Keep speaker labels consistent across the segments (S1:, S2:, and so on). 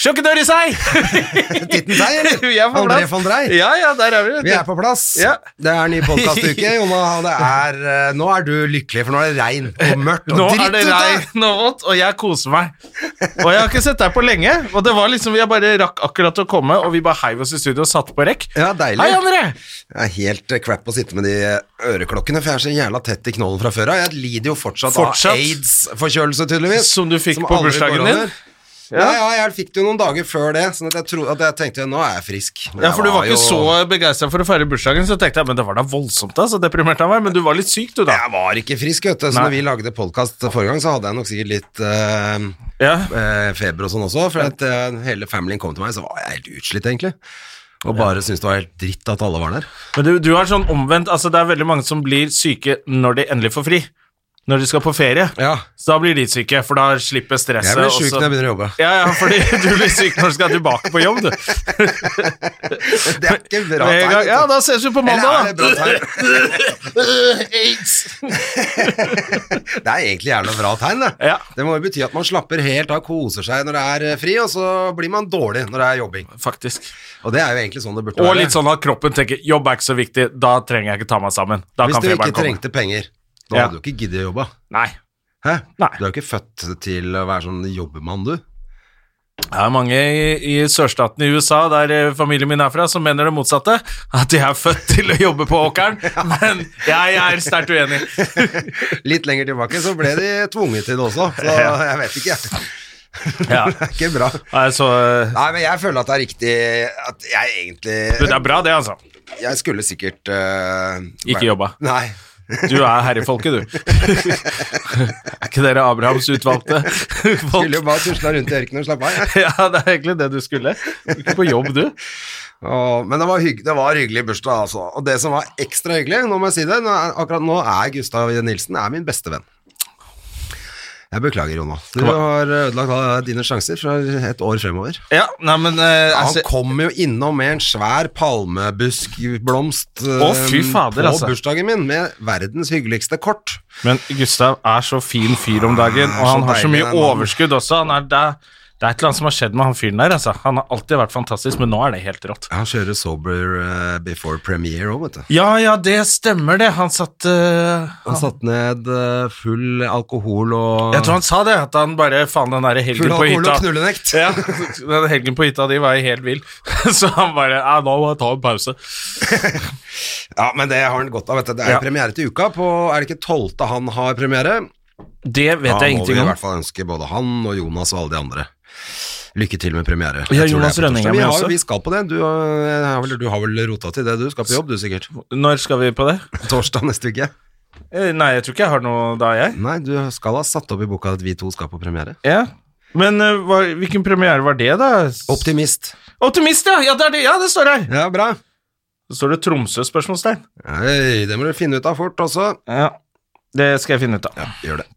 S1: Sjokkdør i seg!
S2: Titten seg, eller?
S1: Vi er på
S2: André
S1: plass.
S2: von Dreyer.
S1: Ja, ja, der er vi. vet du.
S2: Vi er på plass.
S1: Ja.
S2: Det er ny podkastuke, Jonna. og Det er, eh, nå er du lykkelig, for nå er det regn og mørkt og
S1: Nå
S2: dritt
S1: er det
S2: ute.
S1: regn og vått, og jeg koser meg. Og jeg har ikke sett deg på lenge. Og det var liksom, Jeg bare rakk akkurat å komme, og vi bare heiv oss i studio og satt på rekk.
S2: Ja, deilig.
S1: Hei, André!
S2: Det er helt eh, crap å sitte med de eh, øreklokkene, for jeg er så jævla tett i knollen fra før av. Jeg lider jo fortsatt,
S1: Fortsatt?
S2: av aids-forkjølelse, tydeligvis.
S1: Som du fikk
S2: som
S1: på
S2: aldri
S1: bursdagen
S2: går
S1: din?
S2: over. Ja. ja, jeg fikk det jo noen dager før det, sånn at jeg, tro, at jeg tenkte nå er jeg frisk. Men
S1: Ja,
S2: jeg
S1: for du var ikke
S2: jo-
S1: så begeistra for å feire bursdagen, så tenkte jeg men det var da voldsomt, da. Så deprimert han var. Men du var litt syk, du, da.
S2: Jeg var ikke frisk, vet du. Så
S1: Nei.
S2: når vi lagde podkast forrige gang, så hadde jeg nok sikkert litt eh,
S1: Ja.
S2: eh, feber og sånn også, for at eh, hele familien kom til meg, så var jeg helt utslitt, egentlig. Og bare syntes det var helt dritt at alle var der.
S1: Men du, du er sånn omvendt. altså Det er veldig mange som blir syke når de endelig får fri. Når de skal på ferie.
S2: Ja.
S1: Så da blir de syke, for da slipper stresset.
S2: Jeg blir
S1: og
S2: sjuk
S1: så-
S2: når jeg begynner å jobbe.
S1: Ja, ja, fordi du blir syk når du skal tilbake på jobb, du.
S2: Det er ikke bra tegn.
S1: Med en gang-
S2: vet du.
S1: Ja, da ses vi på mandag,
S2: Eller
S1: da.
S2: er det bra tegn? Det er egentlig jævla bra tegn, det.
S1: Ja.
S2: Det må jo bety at man slapper helt av, koser seg når det er eh, fri, og så blir man dårlig når det er jobbing.
S1: Faktisk.
S2: Og det er jo egentlig sånn det burde
S1: Og
S2: være.
S1: litt sånn at kroppen tenker 'jobb er ikke så viktig', da trenger jeg ikke ta meg sammen. Da
S2: Hvis
S1: kan
S2: du
S1: feberen
S2: ikke
S1: komme.
S2: trengte penger, da
S1: Ja.
S2: hadde du ikke giddet å jobbe.
S1: Nei.
S2: Hæ?
S1: Nei.
S2: Du er jo ikke født til å være sånn jobbemann, du.
S1: Det er mange i, i sørstaten i USA, der eh, familien min er fra, som mener det motsatte. At de er født til å jobbe på åkeren. Men jeg er sterkt uenig.
S2: Litt lenger tilbake så ble de tvunget til det også, så jeg vet ikke. jeg.
S1: Ja.
S2: Det er ikke bra.
S1: Nei, så eh,
S2: Nei, men jeg føler at det er riktig at jeg
S1: du, Det
S2: egentlig
S1: er bra, det, altså.
S2: Jeg skulle sikkert eh,
S1: Ikke
S2: vært-
S1: jobba.
S2: Nei.
S1: Du er herrefolket, du. Er ikke dere Abrahams utvalgte
S2: Skulle
S1: folk?
S2: jo bare tusla rundt i ørkenen og slappe av. jeg.
S1: Ja, det er egentlig det du skulle. Ikke på jobb, du.
S2: Åh, Men det var, hygg, det var hyggelig bursdag, altså. Og det som var ekstra hyggelig, nå må jeg si det, nå er, akkurat nå er Gustav Nilsen er min beste venn. Jeg beklager, Jonna. Du har ødelagt alle dine sjanser fra et år fremover.
S1: Ja, nei, men eh,
S2: Han
S1: altså,
S2: kom jo innom med en svær palmebuskblomst eh,
S1: Å, fy fader,
S2: på
S1: altså.
S2: bursdagen min, med verdens hyggeligste kort.
S1: Men Gustav er så fin fyr om dagen,
S2: Han er
S1: og han
S2: så
S1: har så
S2: deilig,
S1: mye
S2: den mannen.
S1: overskudd også. Han er der. Det er et eller annet som har skjedd med han fyren der. Altså. Han har alltid vært fantastisk, men nå er det helt rått.
S2: Han kjører sober eh, before premiere òg, vet du.
S1: Ja, ja, det stemmer det. Han satt eh,
S2: Han satt ned eh, full alkohol og
S1: Jeg tror han sa det, at han bare Faen, den derre
S2: Full
S1: helgen på
S2: alkohol
S1: hytta.
S2: og knullenekt.
S1: Ja, den helgen på hytta di var jeg helt vill. Så han bare Ja, nå må jeg ta en pause.
S2: Ja, men det har han godt av, vet du. Det er
S1: Ja.
S2: premiere til uka på Er det ikke tolvte han har premiere?
S1: Det
S2: da
S1: vet jeg
S2: må vi
S1: ingenting
S2: i
S1: om.
S2: hvert fall ønske både han og Jonas og alle de andre lykke til med premiere.
S1: Ja,
S2: Jeg tror det er
S1: Jonas
S2: på torsdag.
S1: Rønning er
S2: vi
S1: med
S2: har,
S1: også.
S2: Vi skal på det. Du, eh, har vel- du har vel rota til det, du skal på jobb, du sikkert.
S1: Når skal vi på det?
S2: Torsdag neste uke.
S1: Eh, Nei, jeg tror ikke jeg har noe da, jeg.
S2: Nei, du skal ha satt opp i boka at vi to skal på premiere.
S1: Ja. Men eh, hva, hvilken premiere var det, da?
S2: Optimist.
S1: Optimist, ja! Ja, det, er det. ja, det står her!
S2: Ja, bra.
S1: Så står det Tromsø? spørsmålstegn.
S2: Nei, det må du finne ut av fort også.
S1: Ja, Det skal jeg finne ut av.
S2: Ja, gjør det.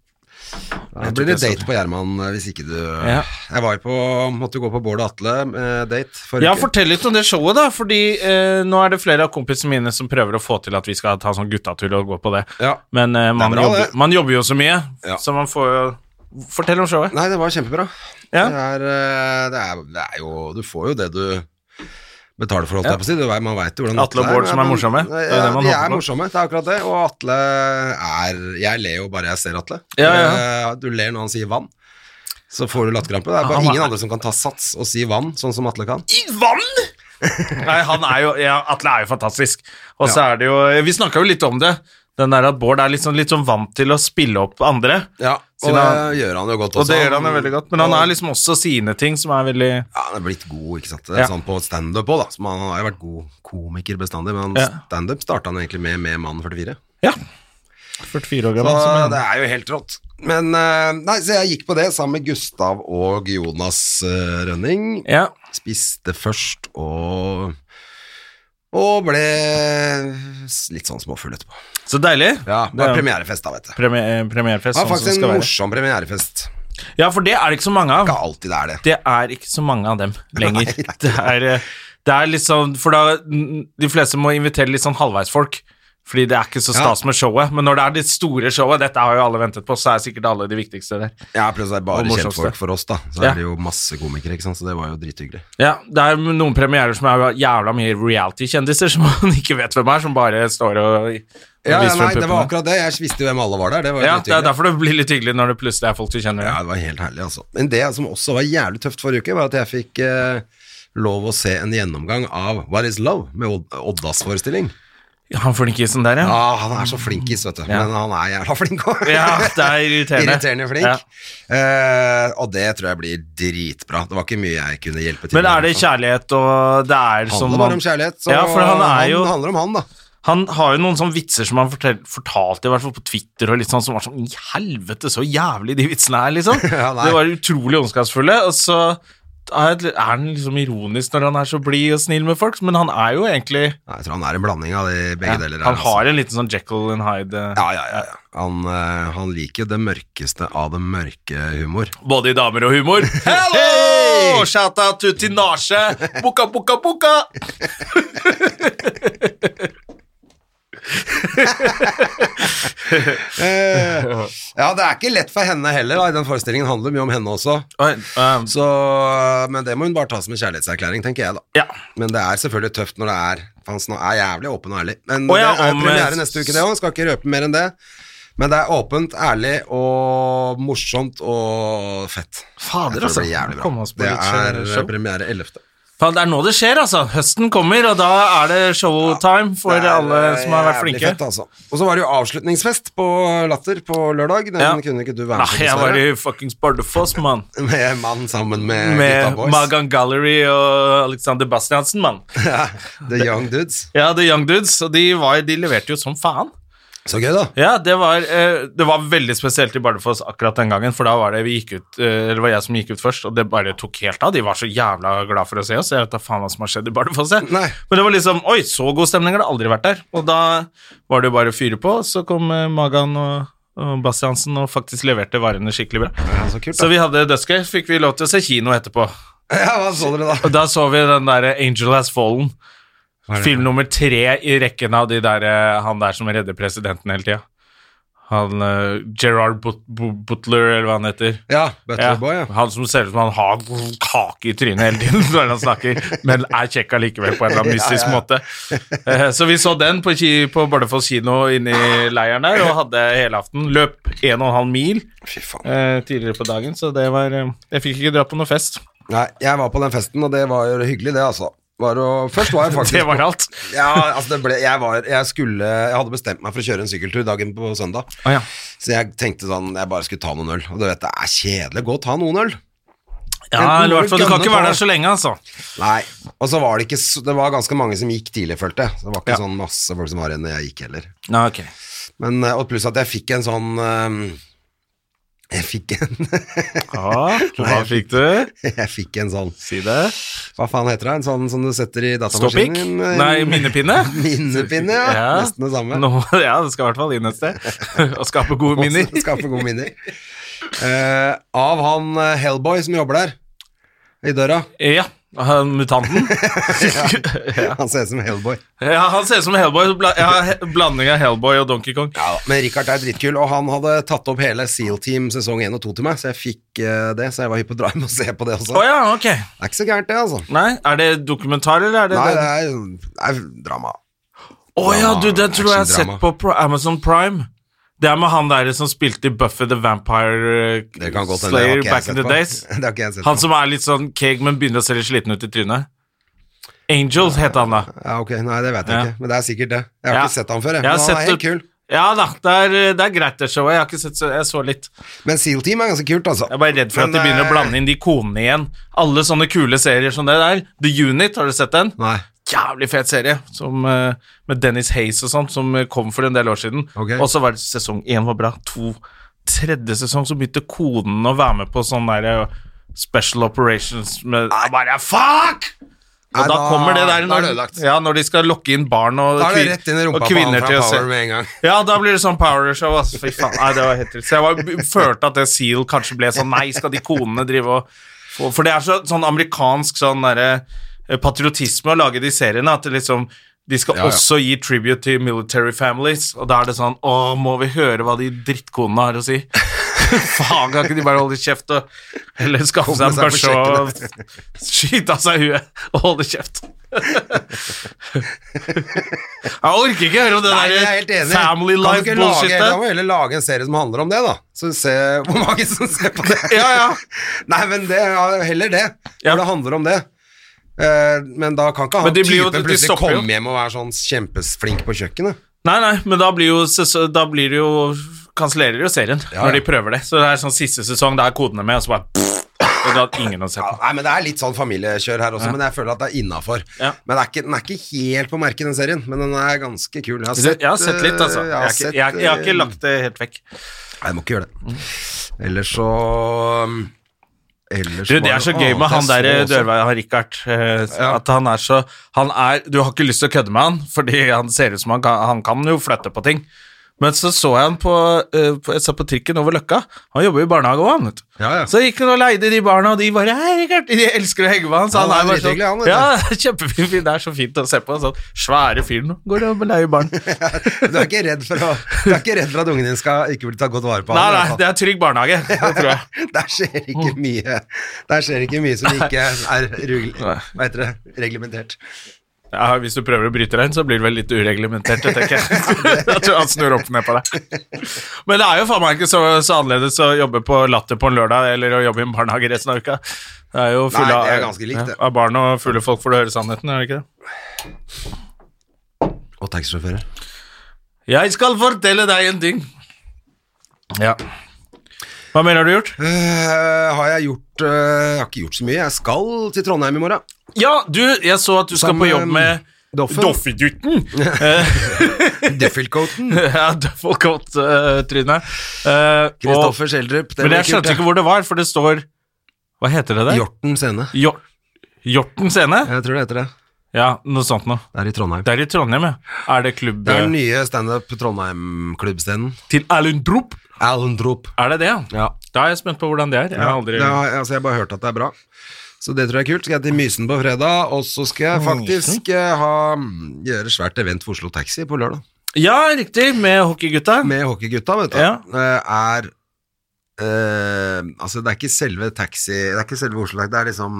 S2: Da
S1: Jeg
S2: blir
S1: tror ikke
S2: det
S1: jeg
S2: date
S1: skal-
S2: på Gjerman eh, hvis ikke du
S1: Ja.
S2: Jeg var på, måtte gå på Bård og Atle eh, date forrige
S1: Ja,
S2: uke.
S1: Fortell litt om det showet, da. Fordi eh, nå er det flere av kompisene mine som prøver å få til at vi skal ta sånn guttatur og gå på det.
S2: Ja.
S1: Men eh, man,
S2: bra,
S1: jobber,
S2: det.
S1: man jobber jo så mye,
S2: Ja.
S1: så man får jo Fortell om showet.
S2: Nei, det var kjempebra.
S1: Ja.
S2: Det, er, eh, det, er, det er jo Du får jo det du betaler for, holdt jeg på å si. Du vet- Man veit jo hvordan
S1: Atle og
S2: er,
S1: Bård som er
S2: men- eh,
S1: morsomme. Det er jo
S2: Ja,
S1: det man
S2: de
S1: håper
S2: er
S1: på.
S2: morsomme. Det er akkurat det. Og Atle er Jeg ler jo bare jeg ser Atle.
S1: Ja,
S2: Eh, Du ler når han sier vann. Så får du latterkrampe. Det er bare
S1: Han er-
S2: ingen andre som kan ta sats og si vann, sånn som Atle kan.
S1: I vann?! Nei, han er jo ja, Atle er jo fantastisk. Og så er det jo Vi snakka jo litt om det. Den der at Bård er litt sånn, litt sånn vant til å spille opp andre.
S2: Ja, og
S1: Siden han-
S2: det gjør han jo godt også.
S1: Og det gjør han jo veldig godt. Men han
S2: Og-
S1: er liksom også sine ting som er veldig
S2: Ja, han er blitt god, ikke sant. Det
S1: Ja.
S2: er Sånn på standup òg, da. Som han har jo vært god komiker bestandig, men
S1: Ja.
S2: standup starta han egentlig med med Mannen 44.
S1: Ja. 44 år
S2: Så
S1: gammel. som er-
S2: det er jo helt rått. Men eh, Nei, så jeg gikk på det sammen med Gustav og Jonas eh, Rønning.
S1: Ja.
S2: Spiste først og Og ble s- litt sånn småfull etterpå.
S1: Så deilig.
S2: Ja, Det var premierefest, da, vet du.
S1: Premi- eh,
S2: Det
S1: premierefest,
S2: var
S1: sånn som det
S2: faktisk en
S1: skal være.
S2: morsom premierefest.
S1: Ja, for det er det ikke så mange av.
S2: Ikke alltid det er det.
S1: Det er ikke så mange av dem lenger. Det er, eh, det er litt sånn For da n- De fleste må invitere litt sånn halvveisfolk. Fordi det er ikke så
S2: Ja.
S1: stas med showet. Men når det er det store showet, dette har jo alle ventet på, så er sikkert alle de viktigste der.
S2: Ja, pluss det er
S1: Og
S2: bare
S1: morsomste.
S2: kjentfolk for oss, da. Så
S1: Ja.
S2: er det jo masse komikere, ikke sant. Så det var jo drithyggelig.
S1: Ja, det er noen premierer som er jævla mye reality-kjendiser som man ikke vet hvem er, som bare står og og
S2: Ja, ja,
S1: viser frem
S2: nei, det var
S1: puppene.
S2: akkurat det. Jeg visste jo hvem alle var der. Det var jo
S1: Ja, det er
S2: drithyggelig.
S1: derfor det blir litt hyggelig når det plutselig er folk du kjenner.
S2: Ja, det var helt herlig, altså. Men det som også var jævlig tøft forrige uke, var at jeg fikk eh, lov å se en gjennomgang av What is love? med Odd- Oddas forestilling.
S1: Ja, Han flinkisen der, ja.
S2: Ah, han er så flinkis, vet du.
S1: Ja.
S2: Men han er jævla flink òg.
S1: Ja, det er irriterende.
S2: Irriterende flink.
S1: Ja.
S2: Eh, og det tror jeg blir dritbra. Det var ikke mye jeg kunne hjelpe til
S1: Men er det
S2: med. altså.
S1: kjærlighet og det er
S2: Det
S1: som
S2: handler bare om kjærlighet, så
S1: Ja, for han er jo
S2: handler om han, da.
S1: Han har jo noen sånne vitser som han fortel, fortalte, i hvert fall på Twitter, og litt sånn, som var sånn I helvete, så jævlig de vitsene er, liksom.
S2: Ja, nei.
S1: det var utrolig ondskapsfulle. Og så er det- er han liksom ironisk når han er så blid og snill med folk, men han er jo egentlig
S2: Nei, Jeg tror han er en blanding av de begge
S1: ja,
S2: deler. her,
S1: Han
S2: altså.
S1: har en liten sånn Jekyll and Hyde, eh,
S2: Ja, ja, ja. ja. Han, eh, han liker jo det mørkeste av det mørke humor.
S1: både i damer og humor. Hello!
S2: Hey!
S1: Shout out to Tinashe! Buka, buka, buka!
S2: Eh, ja, det er ikke lett for henne heller. Da. Den forestillingen handler mye om henne også.
S1: Oi, eh,
S2: Så, men det må hun bare ta som en kjærlighetserklæring, tenker jeg, da.
S1: ja.
S2: Men det er selvfølgelig tøft når det er Han sn- er jævlig åpen og ærlig. Men
S1: Å ja,
S2: det er
S1: om-
S2: premiere neste uke, det òg. Skal ikke røpe mer enn det. Men det er åpent, ærlig og morsomt og fett. Jeg
S1: Fader,
S2: tror
S1: altså.
S2: Det blir jævlig
S1: Kom
S2: bra.
S1: oss på
S2: Det
S1: litt
S2: er
S1: show.
S2: eh, premiere 11.
S1: Faen, det er nå det skjer, altså. Høsten kommer, og da er det showtime for
S2: Det er,
S1: alle
S2: eh,
S1: som har vært
S2: jævlig
S1: flinke.
S2: fett, altså. Og så var det jo avslutningsfest på Latter på lørdag. Den
S1: Ja.
S2: kunne ikke du være
S1: Nei,
S2: med på,
S1: Ah, jeg var
S2: dessverre.
S1: i fuckings Bardufoss, mann.
S2: Med mann sammen med,
S1: Med
S2: gutta boys.
S1: Magan Gallery og Alexander Bastiansen, mann.
S2: Ja, The Young Dudes.
S1: Ja, The Young Dudes, og de, var, de leverte jo som faen.
S2: Så gøy, da.
S1: Ja, det var, eh, det var veldig spesielt i Bardufoss akkurat den gangen, for da var det vi gikk ut, eh, eller det var jeg som gikk ut først, og det bare tok helt av. De var så jævla glad for å se oss. Jeg vet da faen hva som har skjedd i Bardufoss. jeg.
S2: Nei.
S1: Men det var liksom Oi, så god stemning har det aldri vært der. Og da var det jo bare å fyre på, og så kom eh, Magan og, og Bastiansen og faktisk leverte varene skikkelig bra.
S2: Ja, så kult,
S1: Så
S2: da.
S1: vi hadde dødsgøy. Fikk vi lov til å se kino etterpå.
S2: Ja, hva så dere da?
S1: Og da så vi den derre Angel Has Fallen. Film nummer tre i rekken av de der, eh, han der som redder presidenten hele tida. Han eh, Gerard But Bu- Butler, eller hva han heter.
S2: Ja, Butler
S1: Ja,
S2: Boy, ja.
S1: Han som ser ut som han har kake i trynet hele tiden når han snakker, men er kjekk allikevel på en eller annen mystisk måte. Eh, Så vi så den på, ki på Bardufoss kino inne i leiren der, og hadde helaften. Løp 1,5 mil
S2: Fy faen.
S1: eh, tidligere på dagen, så det var eh, Jeg fikk ikke dratt på noe fest.
S2: Nei, jeg var på den festen, og det var jo hyggelig, det, altså. Var å, først var jeg faktisk
S1: Det var alt.
S2: ja, altså det ble, jeg, var, jeg, skulle, jeg hadde bestemt meg for å kjøre en sykkeltur dagen på søndag.
S1: Å ja.
S2: Så jeg tenkte sånn, jeg bare skulle ta noen øl. Og du vet, det er kjedelig å gå og ta noen øl.
S1: Ja, eller i hvert fall, du kan ikke være der så lenge, altså.
S2: Nei. Og så var det ikke så- Det var ganske mange som gikk tidlig, følte jeg. Så det var ikke
S1: Ja.
S2: sånn masse folk som var igjen når jeg gikk heller.
S1: Ja, ok.
S2: Men, eh, og pluss at jeg fikk en sånn eh, Jeg fikk en,
S1: Ja, hva fikk du?
S2: jeg fikk en sånn
S1: Si det.
S2: Hva faen heter det? En sånn som du setter i
S1: Ståpikk?
S2: datamaskinen? din? eh,
S1: Nei, minnepinne?
S2: Minnepinne, ja. Nesten det samme.
S1: Nå, ja, det skal i hvert fall inn et sted. Og skape gode minner.
S2: Også Skaffe gode minner. Eh, av han eh, Hellboy som jobber der, i døra.
S1: Ja, han, mutanten.
S2: Han ser ut som Hellboy.
S1: Ja, han ser ut som Hellboy. bla- Ja, he- blanding av Hellboy og Donkey Kong.
S2: Ja, da. men Richard er dritkul, og han hadde tatt opp hele Seal Team sesong 1 og 2 til meg, så jeg fikk eh, det, så jeg var hypp på å dra hjem og se på det også.
S1: Å ja, ok.
S2: Det er ikke så gærent, det, altså.
S1: Nei, er det dokumentar, eller er det
S2: Nei, det
S1: det?
S2: er, det er drama.
S1: Å ja, du, det tror jeg jeg har
S2: Actiondrama.
S1: sett på Pro- Amazon Prime. Det er med han der som spilte i Buffy the Vampire eh,
S2: Det kan godt hende, det har
S1: Slayer
S2: ikke jeg
S1: back in
S2: sett
S1: the
S2: på.
S1: days.
S2: Det har ikke jeg sett
S1: Han
S2: på.
S1: som er litt sånn keeg, men begynner å se litt sliten ut i trynet. Angels het han da.
S2: Ja, ok, Nei, det vet jeg
S1: Ja.
S2: ikke, men det er sikkert det. Jeg har
S1: Ja.
S2: ikke sett han før, jeg.
S1: Jeg har
S2: men han
S1: sett
S2: er helt
S1: det-
S2: kul.
S1: Ja da, det er, det er greit det showet. Jeg har ikke sett så, jeg så litt.
S2: Men Seal Team er ganske kult, altså.
S1: Jeg er bare redd for
S2: Men,
S1: at de begynner å
S2: eh,
S1: blande inn de konene igjen. Alle sånne kule serier som det der. The Unit, har du sett den?
S2: Nei.
S1: Jævlig fet serie som, eh, med Dennis Hayes og sånt, som eh, kom for en del år siden.
S2: Ok.
S1: Og så var det sesong én var bra, to tredje sesong så begynte konen å være med på sånn der Special Operations med Jeg bare Fuck! Og
S2: Nei,
S1: da,
S2: da-
S1: kommer det der
S2: da er
S1: når,
S2: det ødelagt.
S1: ja, når de skal lokke inn barn og,
S2: Da er det
S1: kvin-
S2: rett inn i rumpa
S1: og
S2: på han
S1: kvinner
S2: fra
S1: til å se.
S2: Power med en gang.
S1: Ja, da blir det sånn powershow, altså. Fy faen. Nei, det var helt trist. Så jeg var, følte at det Seal kanskje ble sånn Nei, skal de konene drive og få For det er så, sånn amerikansk sånn derre eh, patriotisme å lage de seriene, at det liksom de skal
S2: Ja, ja.
S1: også gi tribute til military families, og da er det sånn Å, må vi høre hva de drittkonene har å si? Faen, kan ikke de bare holde kjeft og Eller skaffe seg en
S2: Komme
S1: børse
S2: seg på
S1: og skyte av seg huet og holde kjeft? Jeg orker ikke høre om det
S2: Nei, jeg er helt
S1: der
S2: enig.
S1: family
S2: Kan du ikke lage- Da må
S1: life-bullshitet.
S2: vi heller lage en serie som handler om det, da. Så vi ser hvor mange som ser på det.
S1: Ja, ja.
S2: Nei, men det er heller det. Hvor
S1: Ja.
S2: det handler om det. Eh, men da kan ikke han
S1: Men de
S2: typen
S1: blir jo- de
S2: plutselig
S1: stopper jo.
S2: komme hjem og være sånn kjempeflink på kjøkkenet.
S1: Nei, nei, men da blir jo, ses- da blir det jo Kansellerer jo serien
S2: Ja,
S1: når
S2: ja.
S1: de prøver det. Så det er sånn siste sesong, da er kodene med, og så bare og da ingen har sett
S2: Ja,
S1: på.
S2: nei, men Det er litt sånn familiekjør her også, men jeg føler at det er innafor.
S1: Ja.
S2: Men det er ikke, den er ikke helt på merket, den serien, men den er ganske kul. Jeg har sett,
S1: Jeg har sett litt, altså.
S2: eh,
S1: Jeg har ikke, jeg, jeg har ikke lagt det helt vekk.
S2: Nei, jeg må ikke gjøre det. Ellers så um, Ellers
S1: Du,
S2: var
S1: det er så
S2: noe
S1: gøy
S2: annet
S1: med han
S2: jeg så
S1: der
S2: også.
S1: dørveien, han Richard. eh,
S2: Ja.
S1: At han er så han er, Du har ikke lyst til å kødde med han, fordi han ser ut som han kan, han kan jo flytte på ting. Men så så jeg han på, eh, på, jeg så på trikken over Løkka. Han jobber jo i barnehage òg, han. vet du.
S2: Ja, ja.
S1: Så gikk han og leide de barna, og de bare Hei, Richard! De elsker å henge med han.
S2: Ja,
S1: Så han,
S2: han er
S1: er bare
S2: drithyggelig, han,
S1: sånn,
S2: vet du.
S1: ja, kjempefin fyr. Det er så fint å se på. Sånn svære fyren. Går og leier barn.
S2: Du er ikke redd for, å, du er ikke redd for at ungen din skal ikke bli tatt godt vare på?
S1: Nei,
S2: han, i
S1: nei,
S2: hvert
S1: Mm.
S2: fall.
S1: det er trygg barnehage. Det tror jeg.
S2: Der skjer ikke mye Der skjer ikke mye som ikke er rugl-
S1: Nei.
S2: hva heter det, reglementert.
S1: Ja, hvis du prøver å bryte deg inn, så blir det vel litt ureglementert, det tenker jeg. jeg tror han snur opp ned på deg. Men det er jo faen meg ikke så, så annerledes å jobbe på Latter på en lørdag eller å jobbe i en barnehage resten av uka. Det er jo full
S2: Nei,
S1: av-
S2: det er ganske likt, det.
S1: ja, Av barn og fulle folk får du høre sannheten, er det ikke det?
S2: Og taxisjåfører.
S1: Jeg skal fortelle deg en ting. Ja. Hva mer har du gjort?
S2: Eh, har jeg gjort eh, Jeg har ikke gjort så mye. Jeg skal til Trondheim i morgen.
S1: Ja, du, jeg så at du skal
S2: Som,
S1: på jobb
S2: eh,
S1: med
S2: Doffen.
S1: Doffegutten.
S2: Duffelcoaten.
S1: ja, Duffelcoat-trynet. Uh,
S2: Kristoffer Schjelderup.
S1: Men jeg skjønte ikke hvor det var, for det står Hva heter det der?
S2: Hjorten scene.
S1: Hjor- Hjorten scene?
S2: Jeg tror det heter det.
S1: Ja, noe sånt noe.
S2: Det er i Trondheim.
S1: Det er i Trondheim, ja. Er det klubb
S2: Det er den nye standup Trondheim-klubbscenen.
S1: til Alundrup?
S2: Alendrop.
S1: Er det det, ja?
S2: Ja.
S1: Da er jeg spent på hvordan det er. Jeg har aldri
S2: Det har, altså, jeg har bare hørt at det er bra. Så det tror jeg er kult. Skal jeg til Mysen på fredag, og så skal jeg faktisk eh, ha, gjøre svært event for Oslo Taxi på lørdag.
S1: Ja, riktig, med hockeygutta.
S2: Med hockeygutta, vet du.
S1: Ja.
S2: Eh, Er eh, Altså, det er ikke selve taxi Det er ikke selve Oslo Taxi, det er liksom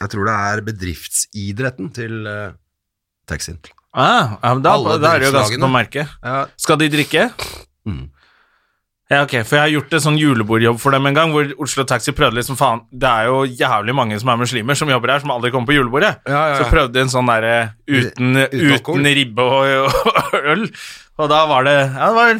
S2: Jeg tror det er bedriftsidretten til eh, taxien.
S1: Ah, ja, men da,
S2: Alle
S1: da er det jo ganske
S2: driftslagene.
S1: på merket.
S2: Ja,
S1: Skal de drikke?
S2: Mm.
S1: Ja, ok, for jeg har gjort en sånn julebordjobb for dem en gang, hvor Oslo Taxi prøvde liksom, faen, det er jo jævlig mange som er muslimer som jobber her, som aldri kommer på julebordet.
S2: Ja, ja, ja.
S1: Så prøvde de en sånn derre uten,
S2: Uten alkohol.
S1: uten ribbe og, og øl, og da var det, ja, det var,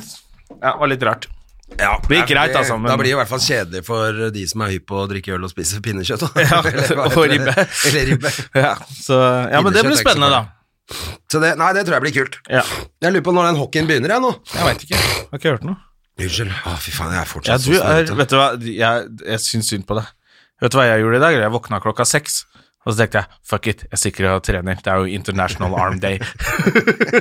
S1: ja, det var litt rart. det gikk greit, altså, men-
S2: Da blir det i hvert fall kjedelig for de som er hypp på å drikke øl og spise pinnekjøtt. da.
S1: Ja,
S2: Eller hva heter
S1: og
S2: det?
S1: ribbe.
S2: Eller ribbe.
S1: Ja, så, ja men
S2: Pinnekjøtt
S1: det
S2: er
S1: blir
S2: ikke så
S1: spennende da.
S2: farlig. Så det, nei, det tror jeg blir kult.
S1: Ja,
S2: Jeg lurer på når den hockeyen begynner, jeg nå.
S1: jeg vet ikke, jeg har ikke hørt noe.
S2: Unnskyld. Å, fy faen, jeg er
S1: Ja,
S2: fortsatt
S1: du er,
S2: snørrete.
S1: vet du hva, jeg, jeg syns synd på deg. Vet du hva jeg gjorde i dag? Jeg våkna klokka seks, og så tenkte jeg fuck it, jeg stikker og trener. Det er jo International Arm Day.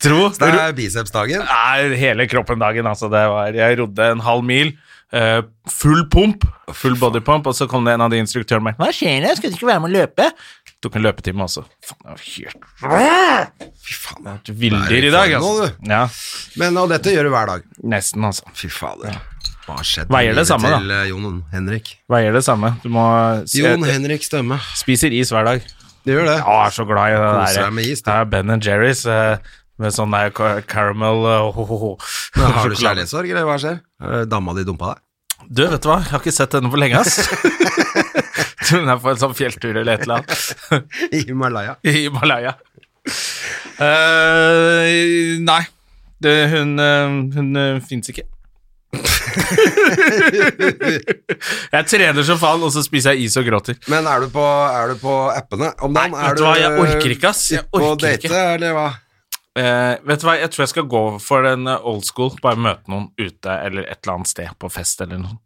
S1: Tro
S2: Det er bicepsdagen.
S1: Nei, hele kroppen dagen, altså. Det var, jeg rodde en halv mil. eh, full pump, full bodypump, og så kom det en av de instruktørene med Hva skjer det? Skal du ikke være med å løpe? Tok en løpetime også. Faen, det var helt
S2: Fy faen. Det
S1: Du
S2: er i
S1: villdyr i dag,
S2: form nå,
S1: altså. Ja,
S2: Men og dette gjør du hver dag.
S1: nesten, altså.
S2: Fy fader. Hva har skjedd
S1: Veier det
S2: livet
S1: samme, da?
S2: til eh, Jon Henrik?
S1: Veier det samme. Du må eh,
S2: Jon Henrik Stømme.
S1: Spiser is hver dag.
S2: Det gjør det.
S1: Ja, jeg er så glad i det der.
S2: Koser deg med is, du.
S1: Ja, Ben Jerry's eh, med sånn der ca- caramel eh, ho, ho, ho.
S2: Men har du
S1: sjokolade.
S2: kjærlighetssorg, eller hva skjer? Eh, Dama di dumpa deg?
S1: Du, vet du hva? Jeg har ikke sett henne på lenge, ass. Tror hun er på en sånn fjelltur eller et eller annet
S2: I Himalaya.
S1: i Himalaya. Eh, nei, det, hun, eh, hun eh, fins ikke. jeg trener som faen, og så spiser jeg is og gråter.
S2: Men er du på, er du på appene om dagen?
S1: Nei,
S2: Er
S1: vet du hva, jeg orker ikke, ass. Jeg
S2: På
S1: orker
S2: date,
S1: ikke.
S2: eller hva?
S1: Eh, vet du hva, jeg tror jeg skal gå for en eh, old school. Bare møte noen ute eller et eller annet sted, på fest eller noe.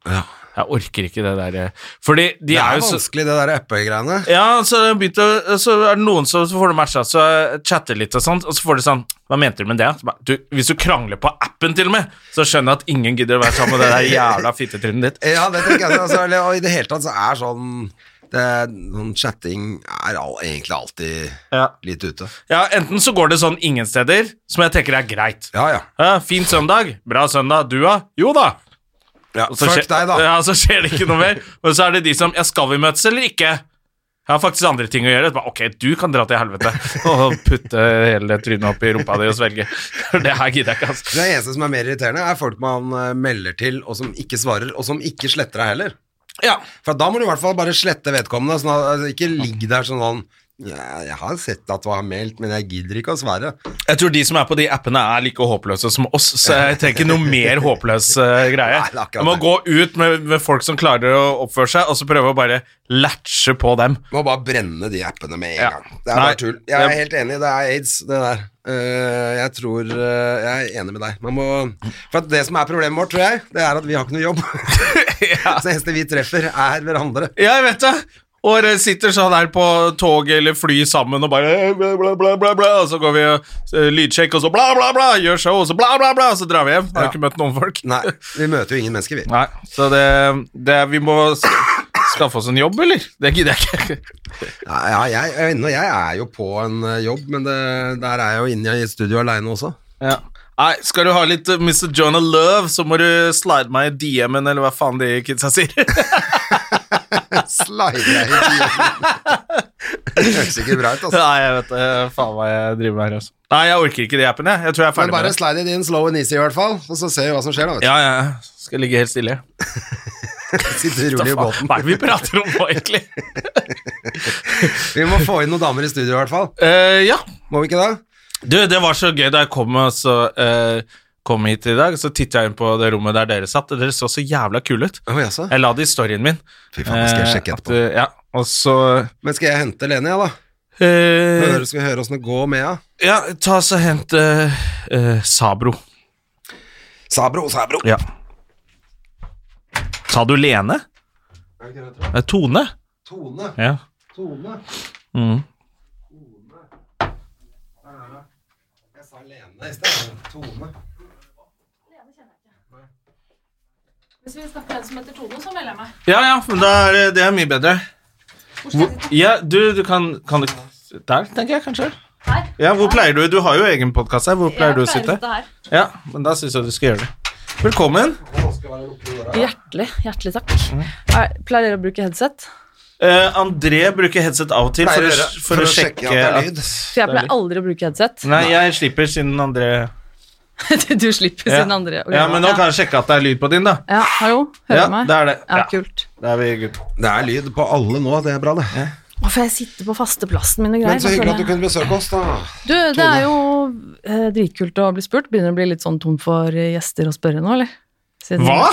S1: Jeg orker ikke det der eh. Fordi
S2: Det
S1: de er,
S2: er
S1: jo så
S2: vanskelig, det der Apple-greiene.
S1: ja, så, har jeg begynt å, så er det noen som så får du matcha, så jeg chatter litt og sånt, og så får du sånn Hva mente du med det? Så ba, Du, hvis du krangler på appen til og med, så skjønner jeg at ingen gidder å være sammen med det der jævla fittetrynet ditt.
S2: Ja, det tenker jeg. Altså, eller, og i det hele tatt så er sånn det, Sånn chatting er all, egentlig alltid
S1: Ja.
S2: litt ute.
S1: Ja, Enten så går det sånn ingen steder, som jeg tenker er greit.
S2: Ja, ja.
S1: Ja, fin søndag. Bra søndag. Du, da? Jo da.
S2: ja
S1: Og så
S2: fuck
S1: skje-
S2: deg, da.
S1: Ja, så skjer det ikke noe mer. Men så er det de som Ja, skal vi møtes eller ikke? Jeg har faktisk andre ting å gjøre. Bare, ok, du kan dra til helvete og putte hele trynet opp i rumpa di og svelge. Det her gidder jeg ikke, altså.
S2: Det eneste som er mer irriterende, er folk man eh, melder til, og som ikke svarer, og som ikke sletter deg heller.
S1: Ja.
S2: For da må du i hvert fall bare slette vedkommende. Sånn at, altså, ikke ligg der sånn sånn ja, Jeg har sett at du har meldt, men jeg gidder ikke å svare.
S1: Jeg tror de som er på de appene, er like håpløse som oss, så jeg tenker noe mer håpløs eh, greie.
S2: Nei, det er akkurat
S1: Jeg må
S2: det.
S1: gå ut med, med folk som klarer å oppføre seg, og så prøve å bare latche på dem.
S2: Må bare brenne de appene med en
S1: Ja.
S2: gang. Det er
S1: Nei,
S2: bare tull. Jeg er
S1: det-
S2: helt enig, det er aids, det der. Eh, jeg tror eh, Jeg er enig med deg. Man må For at det som er problemet vårt, tror jeg, det er at vi har ikke noe jobb. Så det eneste vi treffer, er hverandre.
S1: Ja, jeg vet det. Og dere sitter sånn her på tog eller fly sammen og bare eh, bla, bla, bla, bla, bla, og så går vi og eh, lydsjekk, og så bla, bla, bla, gjør show, og så bla, bla, bla, og så drar vi hjem. Har
S2: Ja.
S1: ikke møtt noen folk.
S2: Nei, vi møter jo ingen mennesker, vi.
S1: Nei, så det, det Vi må s- skaffe oss en jobb, eller? Det gidder jeg ikke.
S2: Nei, ja, jeg, jeg, er inne, og jeg er jo på en eh, jobb, men det, der er jeg jo inne i studio aleine også.
S1: Ja. Nei, skal du ha litt eh, Mr. Jonah Love, så må du slide meg i DM-en, eller hva faen de kidsa sier.
S2: Slider jeg i tiden. Det høres ikke bra ut, altså.
S1: Nei, jeg vet eh, faen hva jeg driver med her, altså. Nei, jeg orker ikke de appene, jeg. Jeg tror jeg er
S2: Men
S1: ferdig
S2: bare
S1: med det.
S2: slide it in slow and easy, i hvert fall, og så ser vi hva som skjer, da. Vet du.
S1: Ja, ja. Skal ligge helt stille.
S2: Sitter rolig i
S1: Hva
S2: båten.
S1: faen er det vi prater om nå, egentlig?
S2: Vi må få inn noen damer i studio, i hvert fall.
S1: Eh, ja.
S2: Må vi ikke det?
S1: Du, det var så gøy da jeg kom, og så, eh, kom hit i dag, så titta jeg inn på det rommet der dere satt, og dere så så jævla kule ut.
S2: Å, jaså?
S1: Jeg la det i storyen min.
S2: Fy faen, det skal jeg
S1: Eh,
S2: sjekke
S1: at,
S2: etterpå.
S1: eh, Ja, og så
S2: Men skal jeg hente Lene, ja, da?
S1: eh,
S2: Høre, skal vi høre åssen det går med henne?
S1: Ja, ta så hent eh, eh, Sabro.
S2: Sabro, Sabro.
S1: Ja. Sa du Lene? Nei, Tone.
S2: Tone,
S1: Ja.
S2: Tone.
S1: Mm.
S2: Jeg sa Lene i sted. Tone.
S3: Hvis vi snakker med en som heter Tone, så melder jeg meg.
S1: Ja, ja, men da er, det- det er mye bedre.
S3: Hvor skal jeg sitte?
S1: Ja, du, du kan, kan du Der, tenker jeg kanskje.
S3: Her.
S1: Ja, hvor pleier du? Du har jo egen podkast her. Hvor pleier
S3: Jeg
S1: du å sitte?
S3: her.
S1: Ja, men da syns jeg du skal gjøre det. Velkommen.
S3: Hjertelig, hjertelig takk. Er, pleier dere å bruke headset?
S1: Eh, André bruker headset av og til for,
S2: Pleier
S1: å-
S2: dere-
S1: for, å
S2: at
S1: sjekke at
S2: det er lyd.
S3: For jeg pleier aldri å bruke headset.
S1: Nei, jeg slipper siden André
S3: Du- du slipper
S1: Ja.
S3: sin andre.
S1: Ja, men nå
S3: ja.
S1: kan jeg sjekke at det er lyd på din, da.
S3: ja, hallo, hører
S1: Ja,
S3: du meg?
S1: det er det.
S3: Ja,
S1: Ja.
S3: kult.
S1: Da er vi good.
S2: Det er lyd på alle nå, det er bra, det.
S3: Å, for jeg sitter på fasteplassen min og
S2: Men
S3: greier.
S2: så
S3: nå
S2: hyggelig
S3: føler
S2: at du
S3: jeg-
S2: kunne besøke oss, da.
S3: Du, det er jo eh, dritkult å bli spurt. Begynner å bli litt sånn tom for eh, gjester å spørre nå, eller? Siden-
S1: Hva?